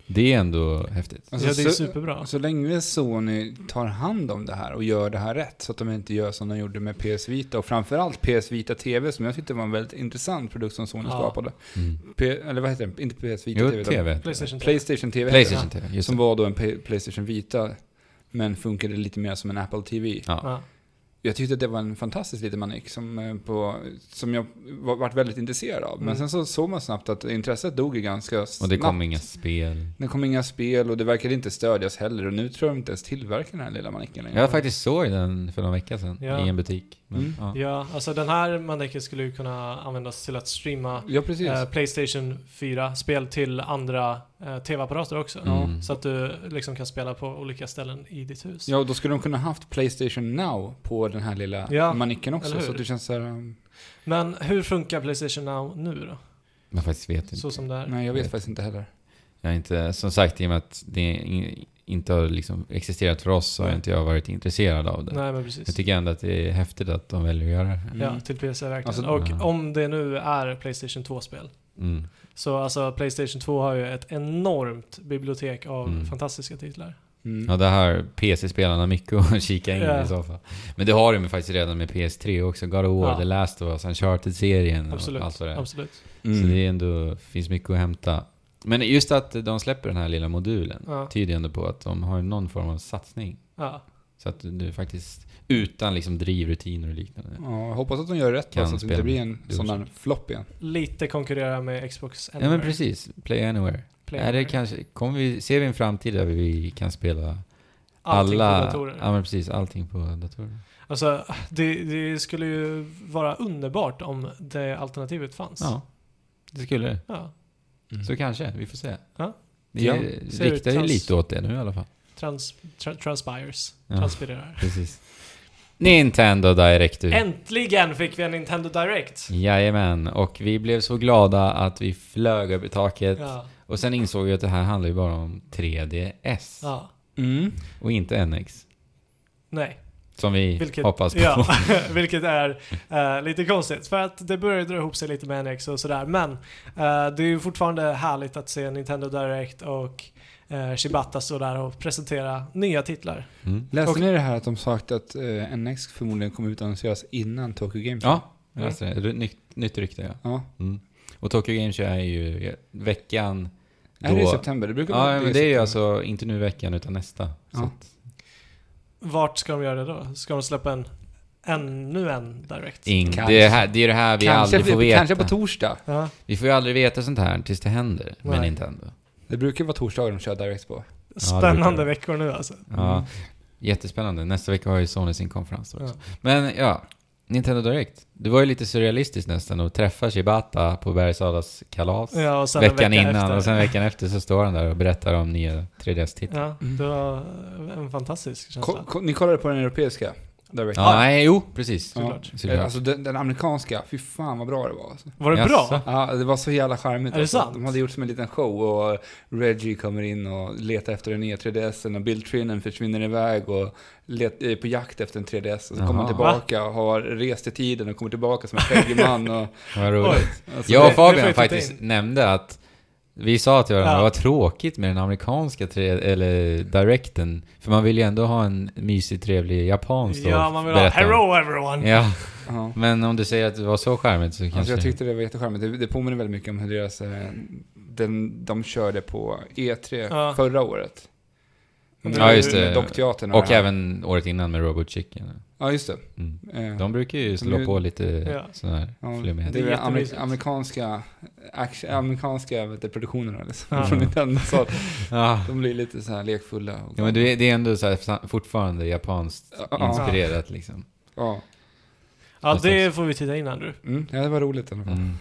Det är ändå häftigt.
Alltså,
ja, det är
så-
superbra.
Så länge Sony tar hand om det här och gör det här rätt så att de inte gör som de gjorde med PS Vita och framförallt PS Vita TV som jag tyckte var en väldigt intressant produkt som Sony
Ja.
skapade.
Mm.
P- eller vad heter den? Inte PS Vita
Jo,
TV. utan
TV.
Playstation 3.
Playstation TV. heter
Playstation TV,
den,
just
Som
det.
var då en P- Playstation Vita men funkade lite mer som en Apple TV.
Ja.
Ja.
Jag tyckte att det var en fantastisk liten manik som, eh, på, som jag var, varit väldigt intresserad av. Men
Mm.
sen så såg man snabbt att intresset dog ju ganska snabbt.
Och det kom inga spel.
Det kom inga spel och det verkade inte stödjas heller och nu tror jag de inte ens tillverkar den här lilla manicken längre.
Jag faktiskt såg den för någon vecka sedan
Ja.
i en butik. Men,
Mm.
ja.
ja, alltså den här manicken skulle ju kunna användas till att streama
Ja, precis.
eh, Playstation 4-spel till andra eh, TV-apparater också.
Mm.
Så att du liksom kan spela på olika ställen i ditt hus.
Ja, och då skulle de kunna haft Playstation Now på den här lilla
Ja,
manicken
eller
också.
hur?
Så det känns så här, um,
Men hur funkar Playstation Now nu då?
Man faktiskt vet inte.
Så som det är.
nej jag vet
Vet.
faktiskt inte heller.
Jag är inte, som sagt, i och med att det in- inte har liksom existerat för oss så har
Nej.
inte jag varit intresserad av det.
Nej men
Jag
precis.
tycker ändå att det är häftigt att de väljer att göra det här.
Ja, till PC verkligen.
Alltså-
och
Ja.
om det nu är Playstation 2-spel.
Mm.
Så alltså Playstation 2 har ju ett enormt bibliotek av
Mm.
fantastiska titlar.
Mm.
Ja, där har PC-spelarna mycket att kika in
Ja.
i så fall. Men det har de ju faktiskt redan med PS3 också. God of War,
Ja.
The Last of Us, Uncharted-serien
Absolut.
och allt vad det är.
Absolut.
Mm.
Så det är ändå, finns mycket att hämta. Men just att de släpper den här lilla modulen
Ja.
tyder ändå på att de har någon form av satsning.
Ja.
Så att du faktiskt, utan liksom drivrutiner och liknande.
Ja, jag hoppas att de gör rätt
Kan
bara, så att det
spela.
inte blir en sån där
Du-
flopp igen.
Lite konkurrera med Xbox
Ja men precis, Play Anywhere.
Play
Är det
Anywhere.
kanske, kommer vi, ser vi en framtid där vi kan spela
Allting
alla...
på datorer.
Ja men precis, allting på datorer.
Alltså, det, det skulle ju vara underbart om det alternativet fanns.
Ja, det skulle det.
Ja. Mm.
Så kanske, vi får se.
Ja.
Det
Ja.
Ser ut
riktar ju
trans-
lite åt det nu i alla fall.
Trans, tra, transpires.
Ja.
Transpirerar.
Precis. Nintendo Direct du.
Äntligen fick vi en Nintendo Direct!
Jajamän, och vi blev så glada att vi flög över taket.
Ja.
Och sen insåg vi att det här handlar ju bara om 3DS.
ja.
Mm.
Och inte NX.
Nej.
Som vi
Vilket-
hoppas på.
Ja, vilket är eh, lite konstigt. För att det börjar dra ihop sig lite med NX och sådär. Men eh, det är ju fortfarande härligt att se Nintendo Direct och eh, Shibata stå där och presentera nya titlar.
Mm.
Läste
Och-
ni det här att de sagt att eh, NX förmodligen kommer utannonseras innan Tokyo Game Show?
Ja,
Mm.
jag läste det. Alltså, Ry- Nytt, nytt rykte ja.
Ja.
Mm. Och Tokyo Game Show är ju veckan då...
Är det i september? Det brukar vara
Ja, men det är ju
september.
alltså inte nu i veckan utan nästa. Så
Ja.
att
Vart ska de göra det då? Ska de släppa en ännu en Direct?
ing-
Kanske.
det, är här, det är det här vi aldrig får veta.
kanske på torsdag.
Ja.
vi får ju aldrig veta sånt här tills det händer med
Nej.
Nintendo.
Det brukar vara torsdagar de kör Direct på.
Spännande veckor nu alltså.
Ja, jättespännande. Nästa vecka har ju Sony sin konferens också.
Ja.
Men ja, Nintendo Direct. Det var ju lite surrealistiskt nästan att träffa Shibata på Bergsalas kalas.
Ja, och sen en
veckan
vecka
innan
efter.
och sen veckan efter så står han där och berättar om nya 3DS-titlar.
Ja, det var en fantastisk känsla.
Ko- ko- ni kollade på den europeiska Direct?
Ja, nej, jo, precis.
Ja.
såklart.
Såklart.
Eh, Alltså den, den amerikanska, fy fan vad bra det var. Alltså.
Var det
Jaså?
bra?
Ja, det var så jävla charmigt.
Är det
alltså.
sant?
De hade gjort som en liten show och Reggie kommer in och letar efter den nya 3DSen och Bill Trinnen försvinner iväg och let, eh, på jakt efter en 3DS. Och så
Jaha.
kommer han tillbaka och har rest i tiden och kommer tillbaka som en skäggig man. Och,
Vad
Oj.
roligt.
alltså,
Jag
det-
och
det får
Fabian
jag titta
faktiskt nämnde att vi sa till varandra
Ja.
det var tråkigt med den amerikanska tre, eller directen. För man vill ju ändå ha en mysig, trevlig japansk då
Ja,
att
man vill ha
berätta om.
Hello everyone!
Ja,
ja.
men om du säger att det var så charmigt så kanske...
alltså, jag tyckte det var jättecharmigt. Det, det påminner väldigt mycket om hur deras, eh, den, de körde på E3
Ja.
förra året. Med-
Ja, just
det.
Med dockteatern
Och
det här.
även året innan med Robot Chicken.
Ja, just det.
Mm.
Eh,
De brukar ju slå
Nu-
på lite
Ja.
sån här
Ja,
flummighet.
det är
Det är
väl amer-
jättemysigt.
amerikanska, action, amerikanska vet du, produktionerna liksom,
Ja.
från Nintendo. Så att
Ja.
de blir lite så här lekfulla. Och,
Ja, men det är, det är ändå så här fa- fortfarande japanskt
Ja, ja.
inspirerat liksom.
ja.
Ja, det får vi titta in Andrew.
Mm, ja, det var roligt i alla fall.
Mm.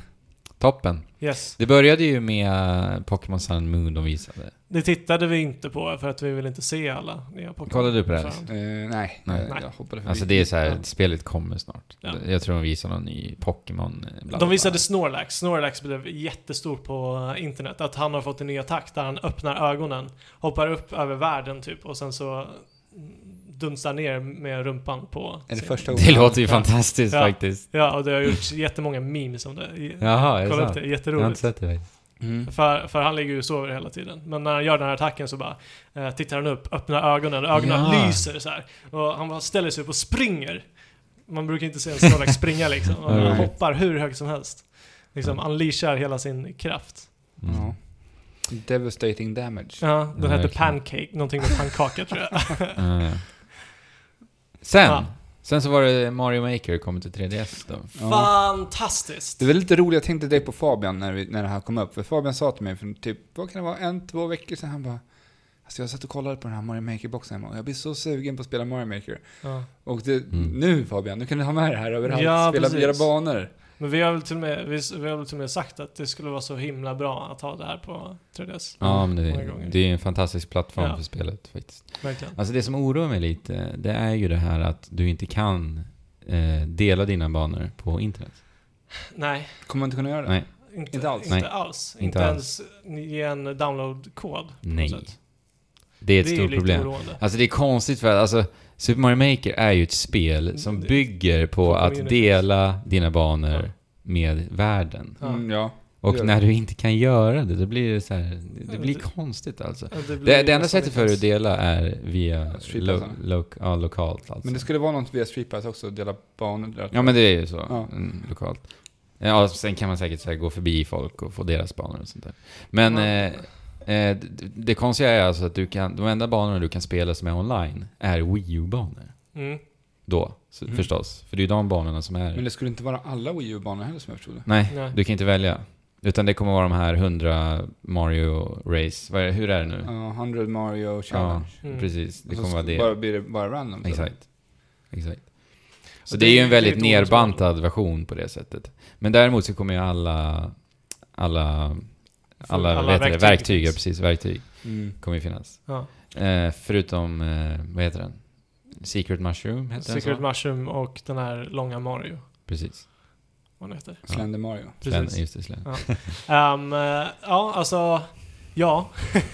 Toppen.
Yes.
Det började ju med Pokémon Sun and Moon de visade.
Det tittade vi inte på för att vi ville inte se alla nya Pokémon.
Kollade du på det, Alice?
Fan.
Eh, nej,
Nej.
eh,
Nej.
jag hoppade förbi.
Alltså det är så här,
Ja.
spelet kommer snart.
Ja.
Jag tror de visar någon ny Pokémon. eh, bla, bla, bla.
De visade Snorlax. Snorlax blev jättestor på eh, internet. Att han har fått en ny attack där han öppnar ögonen, hoppar upp över världen typ och sen så mm, dunsar ner med rumpan på...
Är det
scenen.
första
Det låter ju
Ja.
fantastiskt
Ja.
faktiskt.
Ja, och det har gjorts jättemånga memes om det. I-
Jaha, är det
Kolla upp
sant?
det,
Jag har
jätteroligt.
inte sett det faktiskt.
Mm.
För, för han ligger ju och sover hela tiden. Men när han gör den här attacken så bara eh, tittar han upp, öppnar ögonen, ögonen
Ja.
lyser så här. Och han bara ställer sig upp och springer. Man brukar inte se en Snorlax springa liksom. Och han
Alright.
hoppar hur högt som helst. Liksom unleashar hela sin kraft.
Mm.
Ja. Devastating damage.
Ja, den
Ja,
hette
verkligen.
Pancake, någonting med pannkaka tror jag.
Eh. Sen,
Ja.
sen så var det Mario Maker kommer till 3DS då.
Ja.
Fantastiskt!
Det var lite roligt, jag tänkte direkt på Fabian när, vi, när det här kom upp. För Fabian sa till mig för typ, vad kan det vara, en, två veckor sedan, han bara Alltså jag satt och kollade på den här Mario Maker-boxen hemma och jag blir så sugen på att spela Mario Maker.
Ja.
Och det,
Mm.
nu Fabian, nu kan du ha med det här överallt.
Ja,
spela
precis.
flera banor.
Men vi har, väl till och med, vi, vi har väl till och med sagt att det skulle vara så himla bra att ha det här på 3DS.
Ja, men
Mm. Många
det,
gånger.
det är en fantastisk plattform
Ja.
för spelet faktiskt.
Verkligen.
Alltså det som oroar mig lite, det är ju det här att du inte kan eh, dela dina banor på internet.
Nej,
Kommer inte kunna göra det?
Nej.
Inte,
Inte alls.
Inte,
Nej.
alls.
Inte
inte
alls.
ens ge en download-kod. på något
Nej.
sätt.
Det är ett
ju
stort
lite
problem.
oroande.
Alltså det är konstigt för att alltså, Super Mario Maker är ju ett spel som
Mm, Det-
bygger på
på
att
communities.
dela dina
Ja.
banor med världen.
Ja.
Mm, ja.
Och
Gör det.
när du inte kan göra det, då blir det så här, det
Ja,
blir
det-
konstigt alltså.
Ja, blir
Det, det enda
nästan
sättet
lite
för att
ens-
dela är via
Street
lo,
Plaza.
lo, ja, lokalt alltså.
Men det skulle vara något via Street Pass också, dela banor. där.
Ja men det är ju så,
Ja.
mm, lokalt. Ja, sen kan man säkert så här, gå förbi folk och få deras banor och sånt där. Men
Ja.
eh, eh, d- d- det konstiga är alltså att du kan, de enda banorna du kan spela som är online är Wii U-banor.
Mm.
Då, så,
Mm.
förstås. För det är ju de banorna som är...
Men det skulle inte vara alla Wii U-banor heller som jag förstod det.
Nej,
Nej.
du kan inte välja. Utan det kommer vara de här 100 Mario Race, vad är, hur är det nu?
Ja, 100 Mario Challenge.
Mm.
Precis, det
Och så
kommer vara
sk-
det.
Bara blir det bara random. så.
Exakt. Exakt. Så
Och
det
det
är ju
är-
en
det är
väldigt
ett dåligt val.
nerbantad version på det sättet. Men däremot så kommer ju alla, alla, alla,
Alla
vad heter det,
verktyg
verktyg, ja,
finns.
precis, verktyg
Mm.
kommer ju finnas.
Ja.
Eh, förutom, eh, vad heter den? Secret Mushroom hette den
Secret
så?
Mushroom och den här långa Mario.
Precis.
Vad den heter.
Ja.
Slender Mario.
Precis.
Slend, just det, slend.
Ehm, eh, ja, alltså... Ja.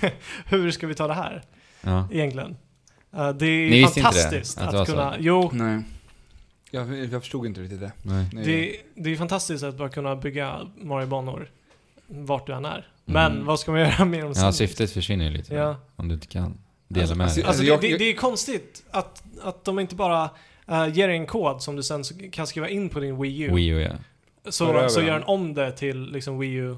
Hur ska vi ta det här
Ja.
egentligen? Eh, det är
Ni visste inte det,
fantastiskt
att det
att,
var så?
kunna... Jo,
Nej. Jag, jag förstod inte riktigt det.
Nej.
Nej.
det, det är fantastiskt att bara kunna bygga Mario-banor vart du än är. Men
Mm.
vad ska man göra med dem sen?
ja, syftet försvinner ju lite.
Ja.
Om du inte kan dela
Alltså-
med
alltså,
dig.
alltså,
jag-
det, det är konstigt att, att de inte bara eh, ger dig en kod som du sen så kan skriva in på din Wii U.
Wii U, ja.
För
så,
över
så
den.
gör den om det till liksom Wii U.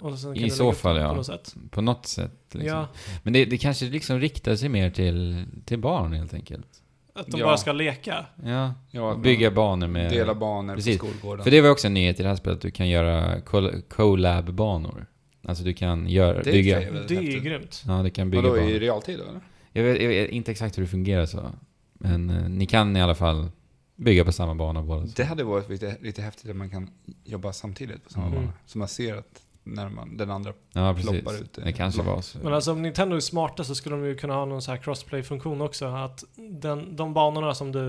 Och sen kan
I
du
så
lägga upp
fall,
den
ja.
På något sätt.
På något sätt. Liksom.
Ja,
Men det, det kanske liksom riktar sig mer till, till barn helt enkelt.
att de
Ja.
bara ska leka.
Ja.
Ja, att
Bygga banor
man
med...
Dela banor
Precis.
på skolgården.
För det var ju också en nyhet i det här spelet, att du kan göra col- collab-banor. Alltså du kan göra,
Det är
bygga...
trevligt. väldigt
Det är ju
häftigt.
grymt.
Ja, du kan bygga
Vadå,
banor.
i realtid då, eller?
Jag, vet, jag vet inte exakt hur det fungerar så. Men eh, ni kan i alla fall bygga på samma bana båda. två.
Det hade varit lite, lite häftigt att man kan jobba samtidigt på samma
Mm.
bana. Så man ser att när man, den andra...
Ja, precis.
ploppar ut eh, det.
Det kanske var så.
Men alltså om Nintendo är smarta så skulle de ju kunna ha någon så här crossplay-funktion också. Att den, de banorna som du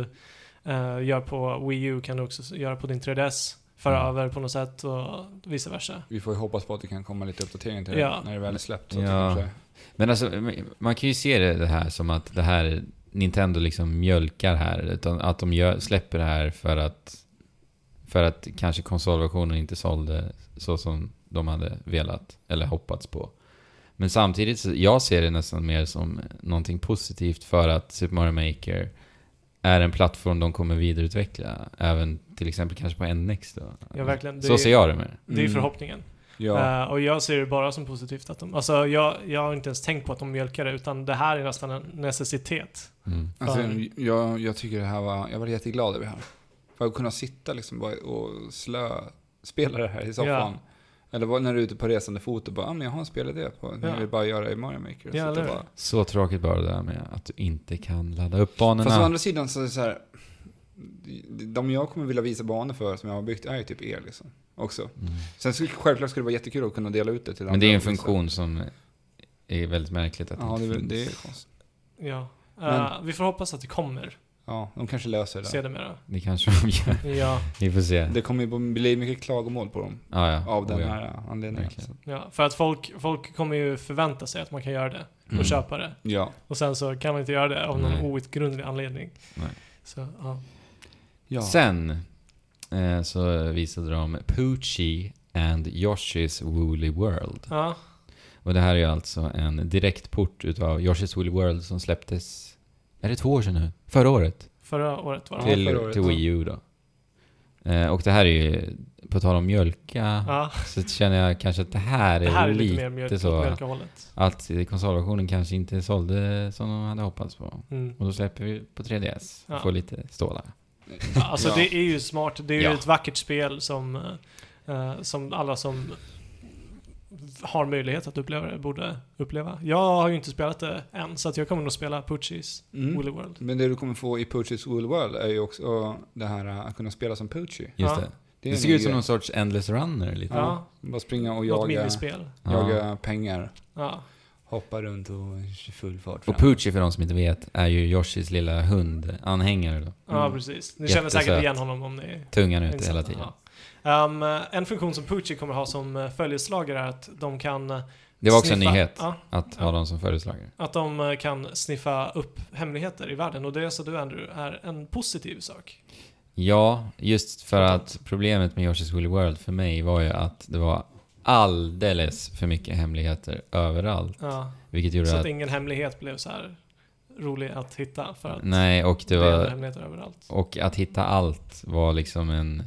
eh, gör på Wii U kan du också göra på din 3DS. Föra
Mm.
över på något sätt och vice versa.
Vi får ju hoppas på att det kan komma lite uppdatering till
Ja.
det när det väl är släppt. Så att
Ja.
det kanske,
Men alltså, man kan ju se det, det här som att det här Nintendo liksom mjölkar här. Utan att de gör, släpper det här för att för att kanske konsolversionen inte sålde så som de hade velat eller hoppats på. Men samtidigt, så, jag ser det nästan mer som någonting positivt för att Super Mario Maker är en plattform de kommer vidareutveckla. Även till exempel kanske på NX då.
Ja, verkligen. Det
Så
är-
ser jag det mer.
Det är
Mm.
förhoppningen.
ja.
Eh, och jag ser det bara som positivt att de, alltså jag, jag har inte ens tänkt på att de mjölkar det utan det här är nästan en necessitet.
Mm.
alltså,
fan.
jag, jag tycker det här var... Jag var jätteglad över det här. För att kunna sitta liksom bara och slö spela det här i soffan. Eller vad- när du är ute på resande fot och bara, ah, men jag har en spelidé på,
Ja.
jag vill bara göra i Mario Maker.
Ja,
Sitta
eller hur?
bara.
Så tråkigt bara det där med att du inte kan ladda upp banorna.
Fast å andra sidan så är det så här, de jag kommer vilja visa banor för som jag har byggt är ju typ er liksom. Också.
Mm.
Sen skulle, självklart skulle det vara jättekul att kunna dela ut det till liksom.
Men det är en
och visa.
funktion som är väldigt märkligt att
Ja,
inte
det, är väl-
finns.
det är konstigt.
Ja. Eh,
Men-
vi får hoppas att det kommer
Ja, de kanske löser det.
sedermera.
Det kanske de gör.
Ja,
Vi får se.
Det kommer ju bli mycket klagomål på dem
Ja, ja.
av den
Oh, ja.
här äh, anledningen.
Verkligen.
ja. För att folk, folk kommer ju förvänta sig att man kan göra det och
Mm.
köpa det.
Ja.
Och sen så kan man inte göra det av någon
Nej.
outgrundlig anledning.
Nej.
Så, ja.
ja.
Sen eh, så visade de Poochie and Yoshi's Woolly World.
ja.
Och det här är ju alltså en direktport utav Yoshi's Woolly World som släpptes, är det två år sedan nu? Förra året?
Förra året var det.
Ja,
till,
förra året,
till
ja.
Wii U då. Eh, och det här är ju, på tal om mjölka,
Ja,
så känner jag kanske att det här är,
det här är lite mer
lite
mjölk,
så.
mjölkahållet.
att konsolversionen kanske inte sålde som de hade hoppats på.
Mm.
Och då släpper vi på 3DS och
Ja.
får lite stålar.
Ja, Alltså
Ja.
det är ju smart, det är ju
Ja.
ett vackert spel som, eh, som alla som har möjlighet att uppleva det borde uppleva. Jag har ju inte spelat det än så att jag kommer nog spela Poochies
Mm.
Woolly World.
Men det du kommer få i Poochies Wool World är ju också och det här eh, att kunna spela som Poochie.
Ja.
Just det.
Det,
Det,
är en
ser
ny
ut som
grej.
någon sorts Endless Runner lite.
Ja,
Bara springa och eh,
något
jaga,
minispel.
jaga pengar.
Ja.
Hoppa runt och i full fart
Och Poochie för de som inte vet är ju Yoshis lilla hundanhängare då.
ja,
Mm.
precis. Ni känner säkert
Jättesöt.
igen honom om ni
Tungan
minns
ute hela
honom.
tiden.
Ja. Ehm, en funktion som Poochie kommer ha som eh, följeslagare är att de kan... eh,
Det var också en
sniffa-
nyhet
Ja,
att ha
Ja.
dem som föreslagare.
att de eh, kan sniffa upp hemligheter i världen och det sa du Andrew är en positiv sak.
Ja, just för
Fattar.
att problemet med Yoshi's Woolly World för mig var ju att det var alldeles för mycket hemligheter överallt.
Ja,
Vilket gjorde
så
att...
att ingen hemlighet blev så här rolig att hitta för att
Nej, och Mm, det
det
var...
var hemligheter överallt.
Och att hitta allt var liksom en...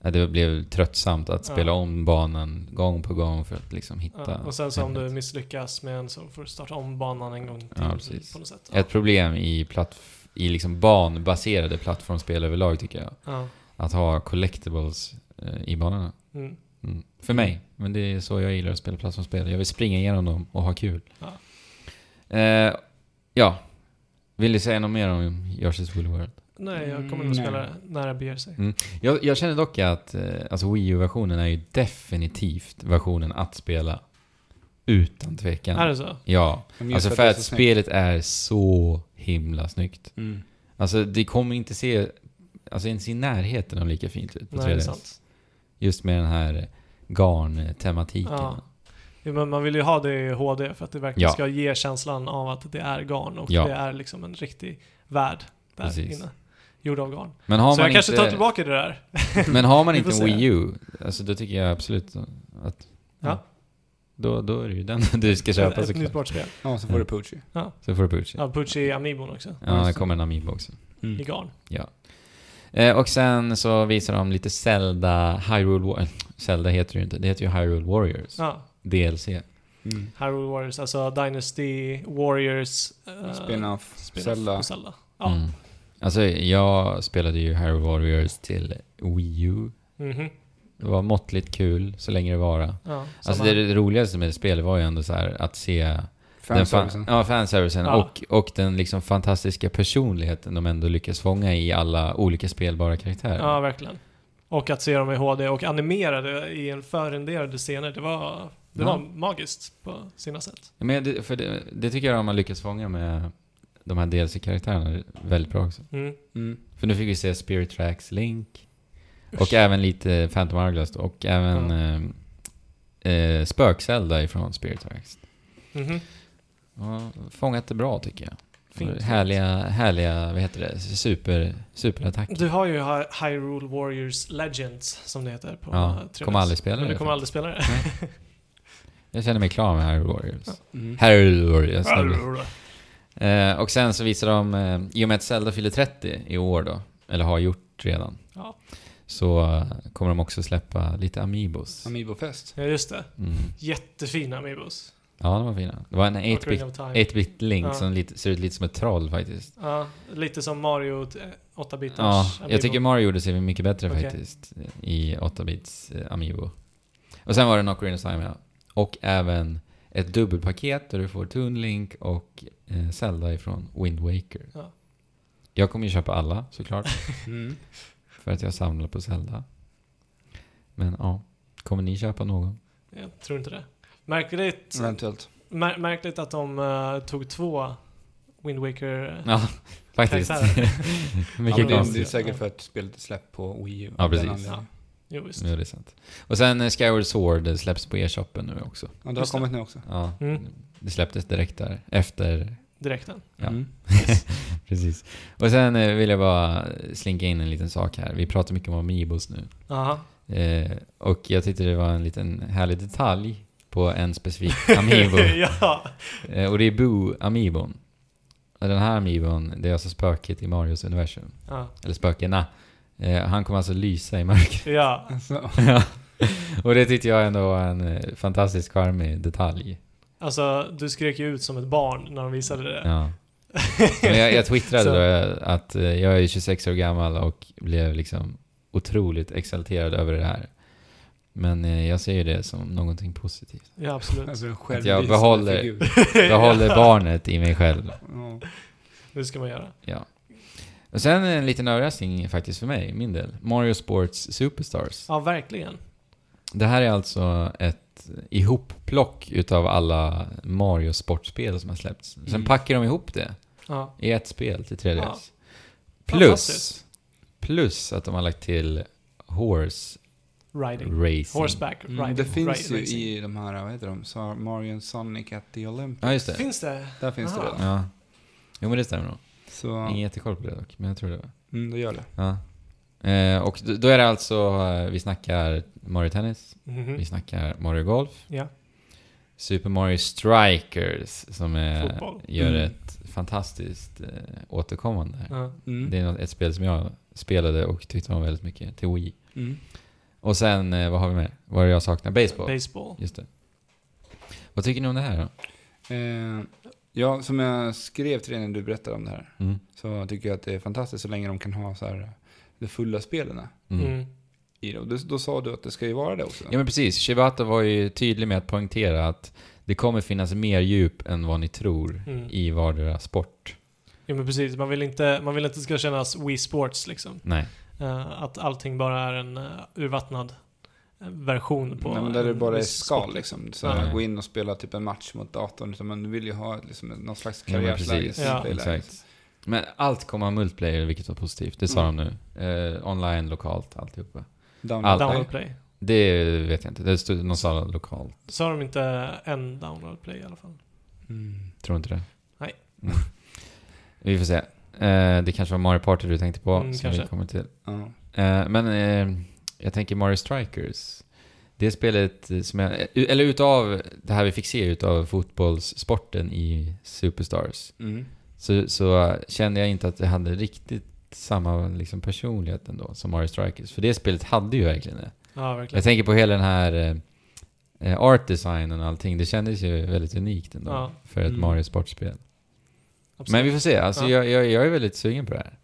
ja, Det blev tröttsamt att
Ja.
spela om banan gång på gång för att liksom hitta...
Ja, och sen så om du
hemlighet.
misslyckas med en så får du starta om banan en gång till
Ja, precis.
på något sätt. Ja.
Ett problem i, plattf- i liksom banbaserade plattformsspel överlag tycker jag.
Ja.
Att ha collectibles eh, i banorna.
Mm.
Mm. För mig. Men det är så jag gillar att spela plattformsspel. Jag vill springa igenom dem och ha kul. Eh, ja. Vill du säga något mer om Yoshi's Woolly World?
Nej, jag kommer
Mm,
nog
nej.
spela det när det beger
Mm,
sig.
Jag, jag känner dock att eh, alltså Wii U-versionen är ju definitivt versionen att spela. Utan tvekan.
Är det så?
Ja.
Men just
Alltså
det
för
är
att
så snyggt.
spelet är så himla snyggt.
Mm.
Alltså det kommer inte se, alltså ens i närheten av lika fint ut på
Nej, det är
3DS.
sant.
Just med den här garntematiken.
Ja. Jo, men man vill ju ha det i HD för att det verkligen
Ja.
ska ge känslan av att det är garn och
Ja.
det är liksom en riktig värld där
Precis.
inne. Gjord av garn.
Men har
Så
man
jag kanske
inte,
tar tillbaka det där.
Men har man
Vi
inte
får
en
se.
Wii U, alltså då tycker jag absolut att...
Ja.
Då, då är det ju den du ska köpa
ett nytt
såklart.
sportspel.
Ja, så får du
Mm.
Poochie.
Så får du Pucci. Ja,
Ja, Pucci Amiibon också.
det kommer en Amiibo också.
I
Mm.
garn.
Eh, och sen så visar de lite Zelda, Hyrule Warriors. Zelda heter det ju inte, det heter ju Hyrule Warriors.
Ja.
DLC.
Mm.
Hyrule Warriors, alltså Dynasty Warriors. eh,
Spin-off,
spin-off
Zelda.
på Zelda. Ja.
Mm. Alltså jag spelade ju Hyrule Warriors till Wii U.
Mhm.
Det var måttligt kul så länge det vara.
Ja,
Alltså
samma.
det, det roligaste med spelet var ju ändå så här att se Den fan,
Fanservicen.
ja, fanservicen
Ja.
och, och den liksom fantastiska personligheten de ändå lyckas fånga i alla olika spelbara karaktärer.
Ja, verkligen. Och att se dem i HD och animerade i en förrenderade scener, det var, det
Ja.
var magiskt på sina sätt.
Men det, för det, det tycker jag de har lyckats fånga med de här DLC-karaktärerna väldigt bra också.
Mm.
Mm.
För nu fick vi se Spirit Tracks Link och även lite Phantom Hourglass då, och även eh, eh, Spök-Zelda ifrån Spirit Tracks.
Mhm.
Ja, fångat det bra tycker jag.
Fint.
Härliga, härliga, vad heter det, super, superattacker.
Du har ju Hy- Hyrule Warriors Legends, som det heter på
Ja,
eh, 3DS.
kommer aldrig spela
Men
det,
du kommer aldrig spela det.
Jag känner mig klar med Hyrule Warriors.
Mm.
Hyrule Warriors. nämligen. Eh, och sen så visar de, eh, i och med att Zelda fyller 30 i år då, eller har gjort redan,
Ja.
så eh, kommer de också släppa lite Amiibos.
Amiibo-fest.
Ja, just det.
Mm.
Jättefina Amiibos.
Ja, de var fina. Det var en 8-bit,
Ocarina of Time.
8-bit Link
Ja.
som lite, ser ut lite som ett troll faktiskt.
Ja, lite som Mario t- 8-bitars
Ja,
Amiibo.
jag tycker Mario gjorde sig mycket bättre
Okej.
faktiskt eh, i 8-bits eh, Amiibo. Och sen var det en Ocarina of Time, ja. Och även ett dubbelpaket där du får Toon Link och eh, Zelda ifrån Wind Waker.
Ja.
Jag kommer ju köpa alla såklart.
Mm.
För att jag samlar på Zelda. Men ja, kommer ni köpa någon?
Jag tror inte det. Märkligt,
Eventuellt.
mär, märkligt att de eh, tog två Wind Waker... eh,
Ja, faktiskt.
Ja,
Vilket
Mycket
men det,
konstigt.
det är
konstigt.
säkert för att spelet är släppt på Wii U.
Ja,
av den
precis.
anledningen.
Jo, visst.
Nu är det sant. Och sen eh, Skyward Sword eh, släpps på e-shoppen nu också.
Ja, det har
Just det.
kommit nu också.
Ja,
Mm.
det släpptes direkt där efter.
Direkt den.
Ja.
Mm.
Precis. Och sen eh, vill jag bara slinka in en liten sak här. Vi pratar mycket om Amiibos nu.
Aha.
Eh, och jag tyckte det var en liten härlig detalj på en specifik Amiibo.
ja.
Eh, och det är Boo Amiibon. Och den här Amiibon, det är alltså spöket i Marios universum.
ja.
Eller spökena. Eh, han kommer alltså lysa i mörkret.
Ja.
Så,
Ja. och det tyckte jag ändå var en eh, fantastiskt charmig detalj.
Alltså, du skrek ju ut som ett barn när de visade det.
Ja. Men jag, jag twittrade
Så.
då att eh, jag är 26 år gammal och blev liksom otroligt exalterad över det här. Men eh, jag ser ju det som någonting positivt.
Ja, absolut.
alltså en
jag
självlysande
behåller-
figur.
Jag håller barnet i mig själv.
Ja.
Det ska man göra.
Ja. Och sen en liten överraskning faktiskt för mig, min del. Mario Sports Superstars.
Ja, verkligen.
Det här är alltså ett ihopplock utav alla Mario Sportspel som har släppts. Sen
Mm.
packar de ihop det
Ja.
i ett spel till 3DS.
Ja.
Plus,
Fantastiskt.
plus att de har lagt till Horse
Riding.
Racing.
Horseback riding.
Mm, det finns
Ri-
ju
racing.
i de här, vad heter de, så Mario and Sonic at the Olympics.
Ja, just det.
Finns det?
Där finns det
Aha.
redan.
Ja. Jo, men det stämmer nog. Ingen
Så,
jättekoll på det dock, men jag tror det var.
mm, då gör det.
Ja. Eh, och d- då är det alltså, eh, vi snackar Mario Tennis,
Mhm.
vi snackar Mario Golf,
Ja.
Super Mario Strikers som är,
Fotboll.
gör
Mm.
ett fantastiskt eh, återkommande. här.
ja.
Mm.
Det är något, ett spel som jag spelade och tyckte om väldigt mycket, till Wii.
Mm.
Och sen, eh, vad har vi mer? Vad är det jag saknar? Baseball.
Baseball.
Just det. Vad tycker ni om det här då?
Eh, ja, som jag skrev till dig när du berättade om det här,
Mm.
så tycker jag att det är fantastiskt så länge de kan ha så här, eh, de fulla spelen
Mm.
Mm.
i det. Och då, då sa du att det ska ju vara det också.
Ja men precis, Shibata var ju tydlig med att poängtera att det kommer finnas mer djup än vad ni tror
Mm.
i vardera sport.
Jo men precis, man vill inte, man vill inte det ska kännas Wii Sports liksom.
Nej.
Eh, att allting bara är en eh, urvattnad eh, version på...
Nej, men där det
en
bara är
viss
skal
sport.
liksom. Så
Ja.
gå in och spela typ en match mot datorn. Utan man vill ju ha liksom, någon slags
Ja, men
karriärsläge.
precis.
Ja.
spelläge.
Exakt. Men allt kommer ha multiplayer, vilket var positivt. Det sa
Mm.
de nu. Eh, online, lokalt, alltihopa.
Download.
Allt.
Download play.
Det vet jag inte. Det stod någon sa lokalt.
Sa de inte en download play i alla fall?
Mm.
Tror inte det.
Nej.
Mm. Vi får se. Eh, det kanske var Mario Party du tänkte på,
Mm,
som
kanske.
vi kommer till.
Ja.
Eh, men eh, jag tänker Mario Strikers. Det spelet som jag... eh, Eller utav det här vi fick se utav fotbollssporten i Superstars.
Mm.
Så, så kände jag inte att det hade riktigt samma liksom, personlighet ändå som Mario Strikers. För det spelet hade ju verkligen det.
Ja,
Jag
verkligen.
tänker på hela den här eh, eh, art designen och allting. Det kändes ju väldigt unikt ändå
Ja.
för ett
Mm.
Mario Sportspel.
Absolut.
Men vi får se. Alltså,
Ja.
jag, jag, jag är väldigt sugen på det här.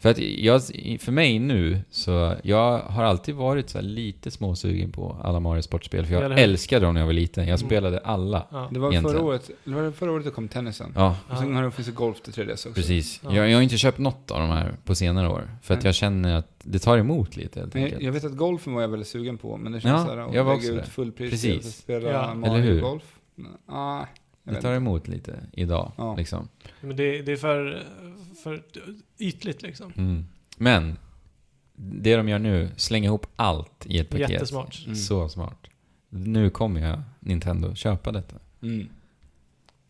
För, att jag, för mig nu, så jag har alltid varit så här lite småsugen på alla Mario Sportspel. För
Eller
jag
hur?
älskade dem när jag var liten. Jag
Mm.
spelade alla.
Ja.
Det var
Egentligen.
förra året, det var förra året det kom tennisen.
Ja,
Och sen
Ja.
har det finns det golf till 3DS också.
precis.
Ja.
Jag, jag har inte köpt något av de här på senare år. För att
Nej.
jag känner att det tar emot lite helt
Men jag,
enkelt.
jag vet att golfen var jag väldigt sugen på, men det känns
Ja,
såhär att
jag var
lägga
också
ut
det.
fullpris
Precis.
och spela
Ja.
Eller
Mario
hur?
Golf. Nej, ah, jag
det
vet
tar
inte.
emot lite idag.
Ja.
Liksom.
Men det, det är för, för ytligt liksom.
Mm. Men det de gör nu, släng ihop allt i ett paket.
Jättesmart.
Mm.
Så smart. Nu kommer jag, Nintendo, köpa detta.
Mm.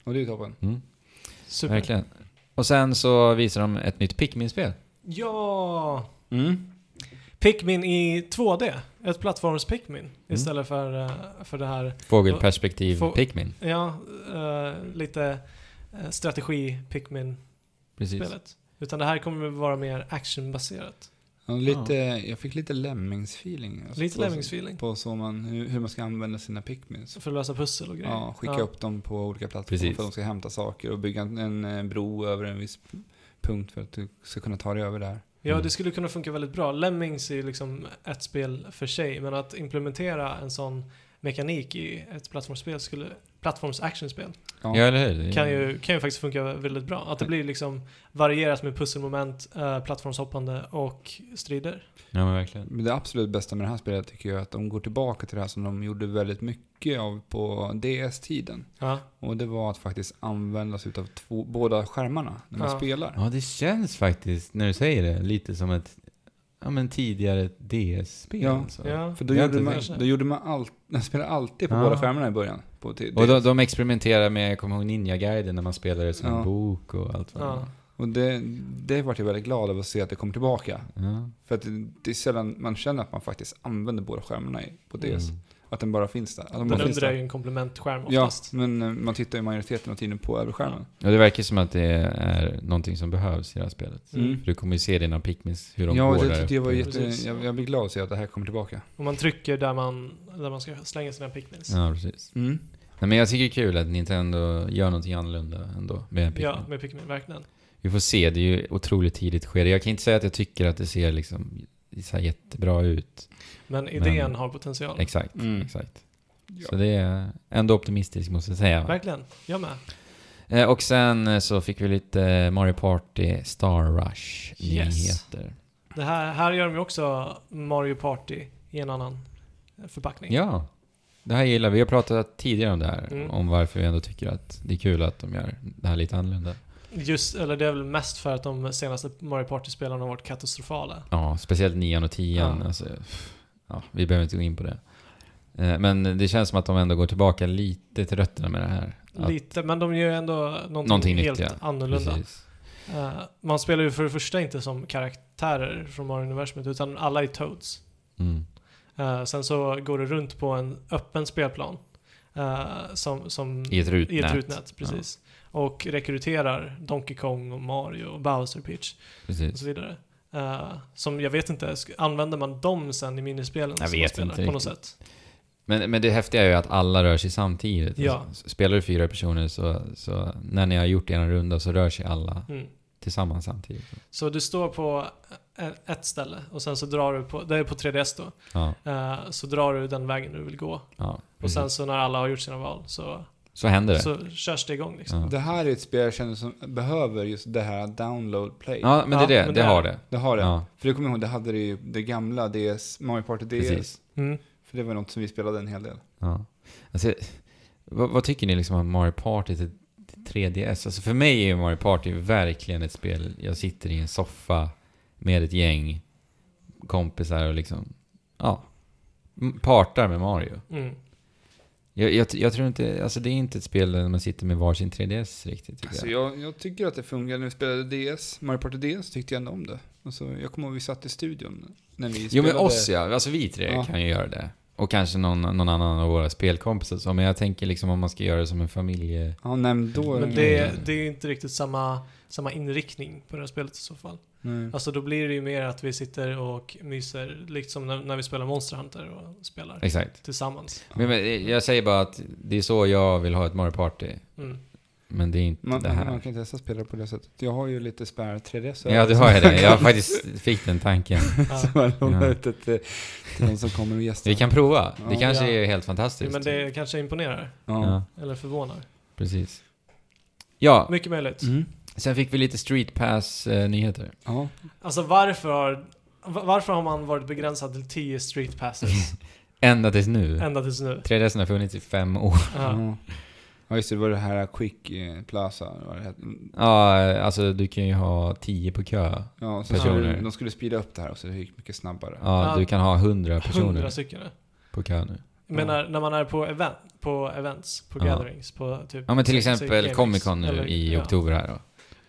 Och det är ju toppen.
Mm.
Super.
Verkligen. Och sen så visar de ett nytt Pikmin-spel.
Ja! Mm. Pikmin i 2D. Ett plattforms-Pikmin.
Mm.
Istället för, eh, för det här,
Fågelperspektiv
Få-
Pikmin.
ja, eh, lite eh, strategi-Pikmin-spelet.
Precis.
Utan det här kommer vara mer actionbaserat.
Och lite, Jag fick lite Lemmings-feeling. alltså,
Lite
på-
Lemmings-feeling.
På så man, hur, hur man ska använda sina pickmins.
För att lösa pussel och grejer.
Ja, skicka upp dem på olika platser
Precis.
för att de ska hämta saker och bygga en, en eh, bro över en viss p- punkt för att du ska kunna ta dig över där.
Ja,
Mm.
det skulle kunna funka väldigt bra. Lemmings är ju liksom ett spel för sig, men att implementera en sån mekanik i ett plattformsspel skulle plattforms-actionspel
Ja.
Ja, eller hur? Det-
kan ju, kan ju faktiskt funka väldigt bra. Att det blir liksom varierat med pusselmoment, eh, plattformshoppande och strider.
Ja, men verkligen.
Men det absolut bästa med det här spelet tycker jag är att de går tillbaka till det här som de gjorde väldigt mycket av på DS-tiden.
Ja,
Och det var att faktiskt använda sig av två, båda skärmarna när man
Ja.
spelar.
Ja, det känns faktiskt, när du säger det, lite som ett ja, men tidigare DS-spel.
Ja.
alltså.
ja.
För då
Jag
gjorde,
inte
man,
tänkt så.
då gjorde man allt, man spelade alltid på
Ja.
båda skärmarna i början. På t-
Ah. Och de, de experimenterar med, jag kommer ihåg Ninja-guiden när man spelade som
Ja.
en bok och allt vad det
ja.
var.
och det, det vart jag väldigt glad av att se att det kom tillbaka.
Ja.
För att det, det är sällan man känner att man faktiskt använder båda skärmarna i- på DS.
Mm.
Att den bara finns där. Att de
Den
bara finns
undrar ju
där.
en komplementskärm
Ja,
oftast.
men eh, man tittar ju majoriteten av tiden på överskärmen.
Och det verkar som att det är någonting som behövs i det här spelet.
Mm.
För du kommer ju se dina pikmins, hur de Mm.
Ja,
går
och det
där
tyckte jag var
uppe.
jätte...
Precis.
Jag, jag blir glad att se att det här kommer tillbaka.
Och man trycker där man, där man ska slänga sina pickmins.
Ja, precis.
Mm.
Nej, men jag tycker det är kul att Nintendo gör någonting annorlunda ändå med pikmin.
Ja, med pickmin, verkligen.
Vi får se, det är ju otroligt tidigt skede. Jag kan inte säga att jag tycker att det ser liksom så här jättebra ut.
Men
Men-
idén har potential.
Exakt,
Mm.
exakt.
Ja.
Så det är ändå optimistiskt måste jag säga.
Verkligen, jag med.
Eh, Och sen eh, så fick vi lite eh, Mario Party Star Rush nyheter.
Det här, här gör de ju också Mario Party i en annan förpackning.
Ja, det här gillar vi. Vi har pratat tidigare om det här,
Mm.
om varför vi ändå tycker att det är kul att de gör det här lite annorlunda.
Just, eller det är väl mest för att de senaste Mario Party-spelarna har varit katastrofala.
Ja, speciellt nian och tian.
Ja.
Alltså, pff, ja, vi behöver inte gå in på det. Eh, Men det känns som att de ändå går tillbaka lite till rötterna med det här. Att-
Lite, men de gör ju ändå någonting,
Någonting nytt,
helt
ja.
annorlunda.
Precis.
Eh, man spelar ju för det första inte som karaktärer från Mario-universumet, utan alla är Toads.
Mm.
Eh, sen så går du runt på en öppen spelplan. eh, som, som
I ett rutnät.
I ett rutnät, precis. Och rekryterar Donkey Kong och Mario och Bowser Peach. och
Precis.
så vidare. Eh, som jag vet inte, sk- använder man dem sen i minispelen
Jag
som
vet
man spelar
inte
på något
riktigt.
sätt?
Men, men det häftiga är ju att alla rör sig samtidigt.
Ja.
Alltså, spelar du fyra personer så, så när ni har gjort er runda så rör sig alla
Mm.
tillsammans samtidigt.
Så du står på e- ett ställe och sen så drar du på, det är på 3DS då,
Ja,
eh, så drar du den vägen du vill gå.
ja,
Och sen
precis.
så när alla har gjort sina val så,
så händer Mm. det.
så körs det igång liksom.
ja.
Det här är ett spel jag känner som behöver just det här download play.
ja, men det är det.
Ja,
det,
men det är-
har det.
Det har det.
Ja,
För du kommer jag ihåg, det hade det ju det gamla DS, Mario Party DS.
Precis.
Mm.
För det var något som vi spelade en hel del.
ja. Alltså, vad, vad tycker ni liksom om Mario Party till 3DS. Alltså för mig är Mario Party verkligen ett spel. Jag sitter i en soffa med ett gäng kompisar och liksom, ja, m- partar med Mario.
Mm.
Jag, jag, jag tror inte, alltså det är inte ett spel där man sitter med varsin 3DS riktigt. tycker
Alltså
jag.
jag, jag tycker att det funkar. När vi spelade DS, Mario Party DS, tyckte jag ändå om det. Alltså, jag kommer ihåg vi satt i studion när vi spelade.
Jo men oss ja, alltså vi tre
Ja.
kan ju göra det. Och kanske någon, någon annan av våra spelkompisar så, men jag tänker liksom om man ska göra det som en familje...
Ja, nej, men då...
Men det, det är inte riktigt samma, samma inriktning på det här spelet i så fall.
Nej.
Alltså då blir det ju mer att vi sitter och myser, liksom när, när vi spelar Monster Hunter och spelar
Exakt.
tillsammans.
Men, men jag säger bara att det är så jag vill ha ett Mario Party.
Mm.
Men det är inte
Man,
det här.
man kan inte ens spela på det sättet. Jag har ju lite spärr 3DS.
ja, du har ju det. Jag faktiskt fick den tanken.
Ja.
Man lånar
Ja.
ut det till, till de som kommer och gästar.
Vi kan prova. Det
Ja.
kanske
Ja.
är helt fantastiskt.
Men det kanske imponerar,
Ja.
Ja,
eller förvånar.
precis. Ja,
Mycket möjligt.
Mm.
sen fick vi lite Street Pass-nyheter.
ja.
Alltså varför har, va- varför har man varit begränsad till 10 street passes
Ända tills nu.
ända tills nu?
3DSen har funnits i fem år.
Ja.
Ja. ja, just det. Det var det här Quick eh, Plaza. eller Vad det hette.
Ja, alltså du kan ju ha tio på kö.
ja, så
Personer.
skulle, de skulle speeda upp det här och så det gick mycket snabbare.
Ja,
Ja.
du kan ha hundra personer
100 stycken.
på kö nu.
Jag menar när man är på, event, på events, på
Ja.
gatherings, på typ...
Ja, men till
säg- säg
exempel
GameX
Comic Con nu
eller-
i
ja.
oktober här då.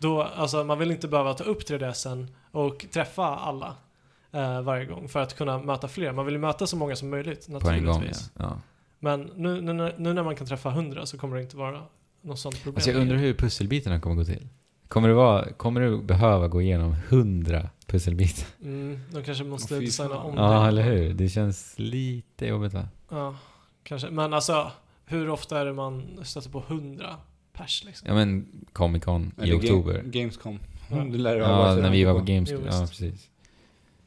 Då, alltså man vill inte behöva ta upp 3DSen och träffa alla eh, varje gång för att kunna möta fler. Man vill ju möta så många som möjligt
På en
naturligtvis.
gång, ja. ja.
Men nu, nu, när- nu när man kan träffa 100 så kommer det inte vara något sånt problem.
Alltså jag undrar hur pusselbitarna kommer gå till. Kommer du, vara, kommer du behöva gå igenom hundra pusselbitar?
Mm, de kanske måste
Åh, fy
designa
fan.
om det.
Ja, eller hur? Det känns lite jobbigt va?
Ja, kanske. Men alltså, hur ofta är det man stöter på 100 pers liksom?
Ja men Comic Con i
Eller Ga-
oktober.
Gamescom.
Ja.
Det lär det ha
Ja,
varit
när vi var på
Gamescom.
Games.
Jo,
Ja,
visst.
precis.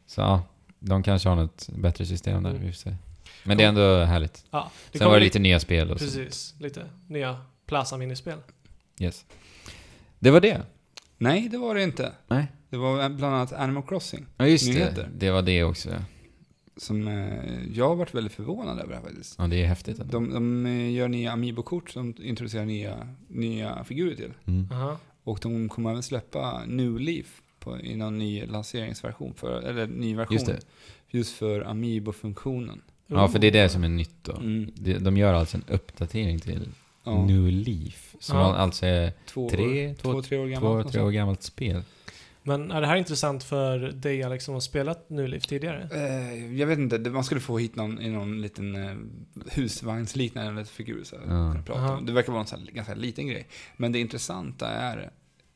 Så ja, de kanske har något bättre system där,
Mm.
vi får se. Men det är ändå härligt.
Ja, det
Sen
kommer
var det
lite,
lite nya spel och så.
Precis, lite nya Plaza-minispel.
Yes. Det var det.
Nej, det var det inte.
Nej.
Det var bland annat Animal Crossing.
Ja just det.
Nyheter.
Det var det också.
Som eh, jag har varit väldigt förvånad över det här faktiskt.
Ja, det är häftigt ändå.
De, de eh, gör nya Amiibo-kort som introducerar nya, nya figurer till.
Mm.
Aha.
Och de kommer även släppa New Leaf på, i någon ny lanseringsversion, för, eller ny version.
Just det.
Just för Amiibo-funktionen.
Ja, för det är det som är nytt då.
Mm.
De- De gör alltså en uppdatering till
Ja,
New Leaf. Som
Ja.
alltså är
två,
tre-
år,
två-
två, tre år
två,
gammalt.
tre år gammalt spel.
Men är det här intressant för dig Alex som har spelat New Leaf tidigare?
Eh, jag vet inte, det- man skulle få hit någon i någon liten eh, husvagnsliknande figur. Så här,
Ja.
kunna prata
Aha.
om. Det verkar vara en sån här, ganska liten grej. Men det intressanta är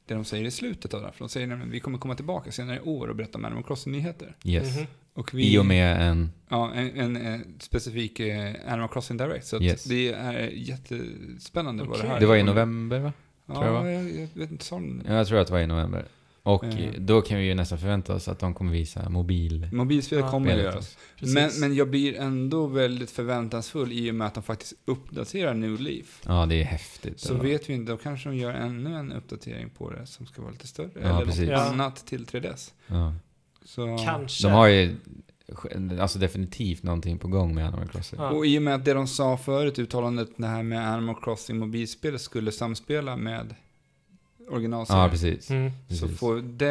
det de säger i slutet av det här. För de säger nämligen vi kommer komma tillbaka senare i år och berätta om Animal Crossing-nyheter.
Yes.
Mhm.
Och vi,
I och med en...
Ja, en, en, eh, specifik eh, Animal Crossing Direct. Så att
Yes.
det är jättespännande vad det
Okej.
här
Det var i
kommer-
november va?
Ja,
tror jag, va?
jag, jag vet inte. Sån.
Ja, Jag tror att det var i november. Och
Eh.
då kan vi ju nästan förvänta oss att de kommer visa mobil...
Mobilspel
Ja.
kommer att göras.
Precis.
Men, men jag blir ändå väldigt förväntansfull i och med att de faktiskt uppdaterar New Leaf.
Ja, det är häftigt.
Så
Ja.
vet vi inte, då kanske de gör ännu en uppdatering på det som ska vara lite större.
Ja,
eller
precis.
något
Ja.
annat till 3DS.
Ja.
Så,
Kanske.
De har ju alltså definitivt någonting på gång med Animal Crossing.
Ja.
Och i och med att det de sa förut, uttalandet det här med Animal Crossing mobilspel skulle samspela med originalserien.
Ja, precis.
Mm.
Så
precis.
får, det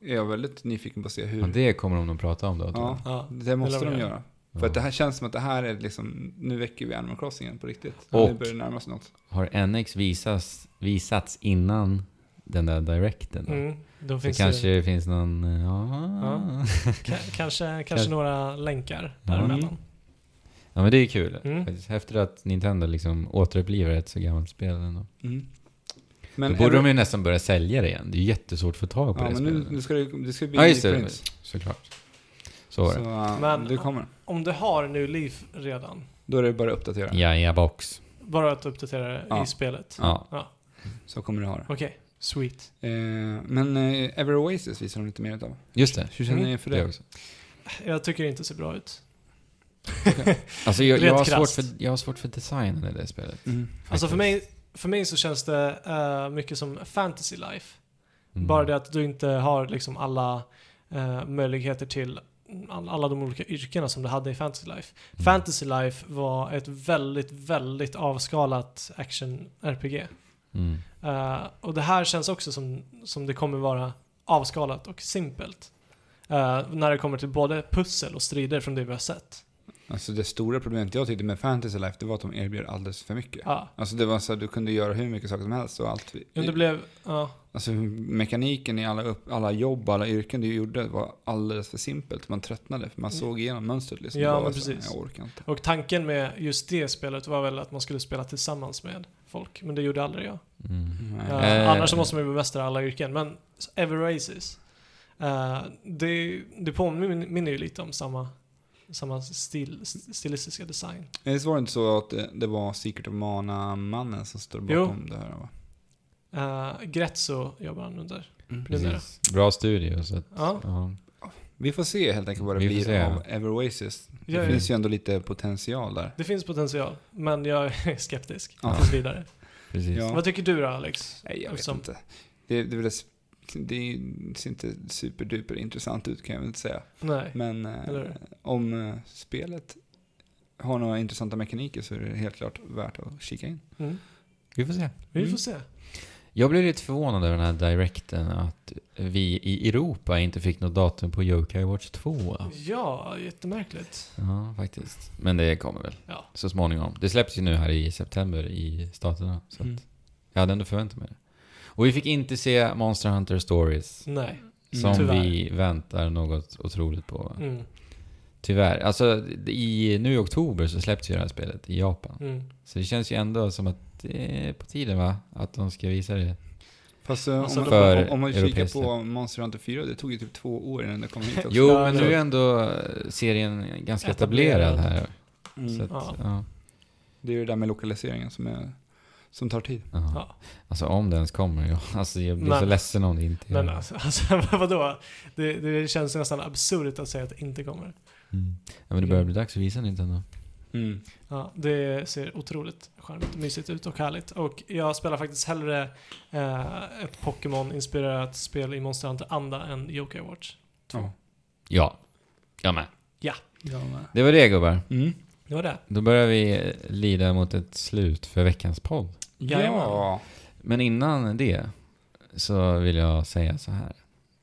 är jag väldigt nyfiken på att se hur.
Ja, det kommer de nog prata om då. tror jag.
ja,
Ja.
det måste
Det lär
de
de
göra.
Ja.
För att det här känns som att det här är liksom, nu väcker vi Animal Crossing igen på riktigt.
Och-
Nu börjar det närma sig något.
Har NX visas, visats innan den där directen? då?
Mm. Då
Så
finns
kanske
det,
det finns någon... Ja.
Ja.
Ja.
ka- kanske, kanske
Kanske.
några länkar
Ja.
däremellan.
men det är kul.
Mm.
Faktiskt Häftigt att Nintendo liksom återupplivar ett så gammalt spel ändå.
Mm. Men,
Då borde
eller-
de ju nästan börja sälja det igen. Det är ju jättesvårt att få tag på
ja,
det
men nu,
spelet.
nu ska det, det ska bli
Ja, just det.
Prince.
Såklart. Så
Så,
var det.
äh,
Men-
det kommer.
Om du har New Leaf redan,
Då är det bara att uppdatera.
Jaja box.
bara att uppdatera det
Ja.
i spelet.
Ja.
Så kommer du ha det.
Okej, sweet.
Eh, men eh, Ever Oasis visar de lite mer utav.
Just det.
Hur känner
Mm.
ni för
det
det?
också.
Jag tycker det inte ser bra ut.
Alltså jag, jag,
Rent
har svårt
krasst.
för, jag har svårt för designen i det spelet.
Mm.
Alltså för
faktiskt.
mig, för mig så känns det eh, mycket som fantasy life.
Mm.
Bara det att du inte har liksom alla eh, möjligheter till all, alla de olika yrkena som du hade i Fantasy Life.
Mm.
Fantasy Life var ett väldigt, väldigt avskalat action-RPG.
Mm.
Eh, och det här känns också som, som det kommer vara avskalat och simpelt. Eh, när det kommer till både pussel och strider från det vi har sett.
Alltså det stora problemet jag tyckte med Fantasy Life, det var att de erbjöd alldeles för mycket.
Ja.
Alltså det var så att du kunde göra hur mycket saker som helst och allt.
Men det blev, ja.
Alltså mekaniken i alla, upp, alla jobb, alla yrken du gjorde var alldeles för simpelt. Man tröttnade för man såg igenom mönstret liksom.
Mm. Ja,
Det var
men
så här,
precis.
Jag orkar inte.
Och tanken med just det spelet var väl att man skulle spela tillsammans med folk, men det gjorde aldrig jag.
Mm.
Nej.
Eh,
Eh.
annars så måste man ju bemästra alla yrken, men Ever Races, eh, det, det påminner ju lite om samma, samma stil, st- stilistiska design.
Men Visst var det inte så att eh, det, det var Secret of Mana-mannen som stod
Jo.
bakom det här va?
Uh, Gretzo jobbar han under. Precis.
Mm, Precis. Bra studio. Så att,
Ja.
ja.
Vi får se helt enkelt vad det
Vi får
blir
se.
av Everoasis. Det
Ja, ja.
finns ju ändå lite potential där.
Det finns potential, men jag är skeptisk
Ja.
tills vidare.
Precis.
Ja.
Vad tycker du då Alex?
Nej, jag vet
Som-
inte. Det, det, är väl ett- det är ju- ser inte superduper intressant ut kan jag väl inte säga.
Nej.
Men eh,
Eller hur?
om eh, spelet har några intressanta mekaniker så är det helt klart värt att kika in.
Mm.
Vi får se.
Vi får
Mm.
se.
Jag blev lite förvånad över den här direkten att vi i Europa inte fick något datum på Yokai Watch alltså. 2.
Ja, jättemärkligt.
Ja, faktiskt. Men det kommer väl
Ja.
så småningom. Det släpps ju nu här i september i staterna. Så att
Mm.
jag hade ändå förväntat mig det. Och vi fick inte se Monster Hunter Stories.
Nej.
Som
Mm, Tyvärr.
vi väntar något otroligt på.
Mm.
Tyvärr. Alltså i, nu i oktober så släpps ju det här spelet i Japan.
Mm.
Så det känns ju ändå som att det är på tiden va? Att de ska visa det.
Fast eh,
Alltså,
om,
För
man, om, om man kikar
europeiska.
på Monster Hunter 4, det tog ju typ två år innan det kom hit också.
Jo,
Ja,
men
det-
nu är ändå eh, serien ganska
Etablerad.
etablerad här. Så
Mm.
att,
Ja.
ja.
Det är ju det där med lokaliseringen som, är, som tar tid.
Ja.
Ja.
Alltså om det ens kommer. Ja. Alltså, jag blir
Nej.
så ledsen om det inte gör
Men
det.
alltså, alltså vadå? Det, det känns nästan absurt att säga att det inte kommer.
Mm. Ja, men det börjar bli dags att visa Nintendo.
Mm.
Ja, det ser otroligt charmigt och mysigt ut och härligt. Och jag spelar faktiskt hellre eh, ett Pokémon-inspirerat spel i Monster Hunter-anda än Yokai Watch.
Ja.
Ja. Jag med.
Jag med.
Det var det gubbar.
Mm.
Det var det.
Då börjar vi eh, lida mot ett slut för veckans podd.
Ja.
Jajamän.
Men innan det så vill jag säga så här.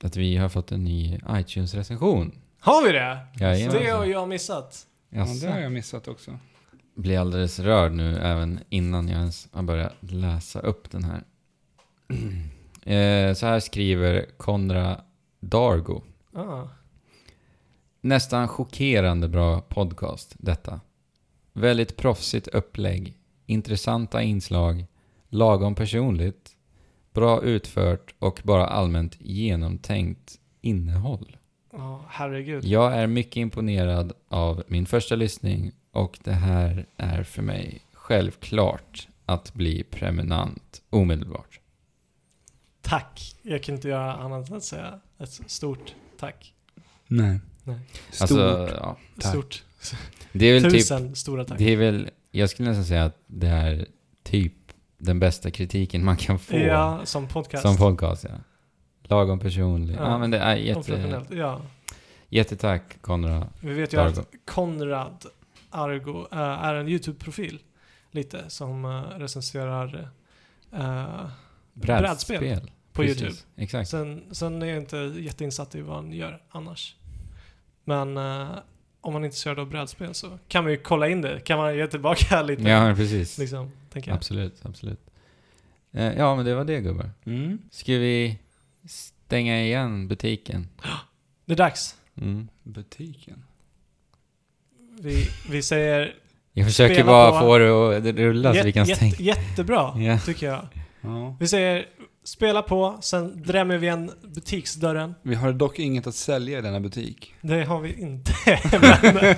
Att vi har fått en ny iTunes-recension.
Har vi det?
Jajamensan.
Det har jag missat.
ja, det har
Jaså.
jag missat också.
blir alldeles rörd nu även innan jag ens har börjat läsa upp den här. eh, så här skriver Konra Dargo.
Ah.
Nästan chockerande bra podcast detta. Väldigt proffsigt upplägg, intressanta inslag, lagom personligt, bra utfört och bara allmänt genomtänkt innehåll.
Ja, herregud.
Jag är mycket imponerad av min första lyssning och det här är för mig självklart att bli prenumerant omedelbart.
Tack. Jag kan inte göra annat än att säga ett stort tack.
Nej.
Nej.
Stort.
Alltså, ja.
Tack.
Stort.
Det är väl typ,
Tusen stora tack.
det är väl, jag skulle nästan säga att det är typ den bästa kritiken man kan få
Ja, som podcast.
som podcast. Ja. Lagom personlig.
Ja.
Ja, men det är
Och
jätte,
professionellt. Ja.
jättetack Konrad.
Vi vet ju att
Argo.
Konrad Argo eh, är en YouTube-profil lite som eh, recenserar eh, Brädspel. på
Precis,
YouTube.
Exakt.
Sen, sen är jag inte jätteinsatt i vad han gör annars. Men eh, om man är intresserad av brädspel så kan man ju kolla in det. Kan man ge tillbaka lite?
Ja, men precis.
Liksom, tänker jag.
Absolut, absolut. Eh, Ja, men det var det gubbar.
Mm.
Ska vi stänga igen butiken?
Det är dags.
Mm.
Butiken.
Vi, vi säger...
Jag försöker
Spela
bara
på-
få det att rulla så
Jät-
vi kan
jät-
stänga.
jättebra,
Ja.
tycker jag.
Ja.
Vi säger spela på, sen drämmer vi igen butiksdörren.
Vi har dock inget att sälja i denna butik.
Det har vi inte. Men,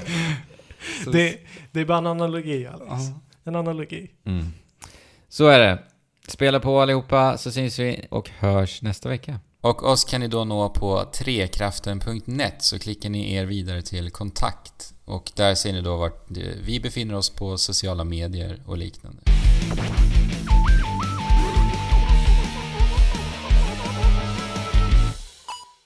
Så-
det, det är bara en analogi, Alex.
Ja.
En analogi.
Mm. Så är det. Spela på allihopa så syns vi och hörs nästa vecka. Och oss kan ni då nå på trekraften.net så klickar ni er vidare till kontakt och där ser ni då vart eh, vi befinner oss på sociala medier och liknande.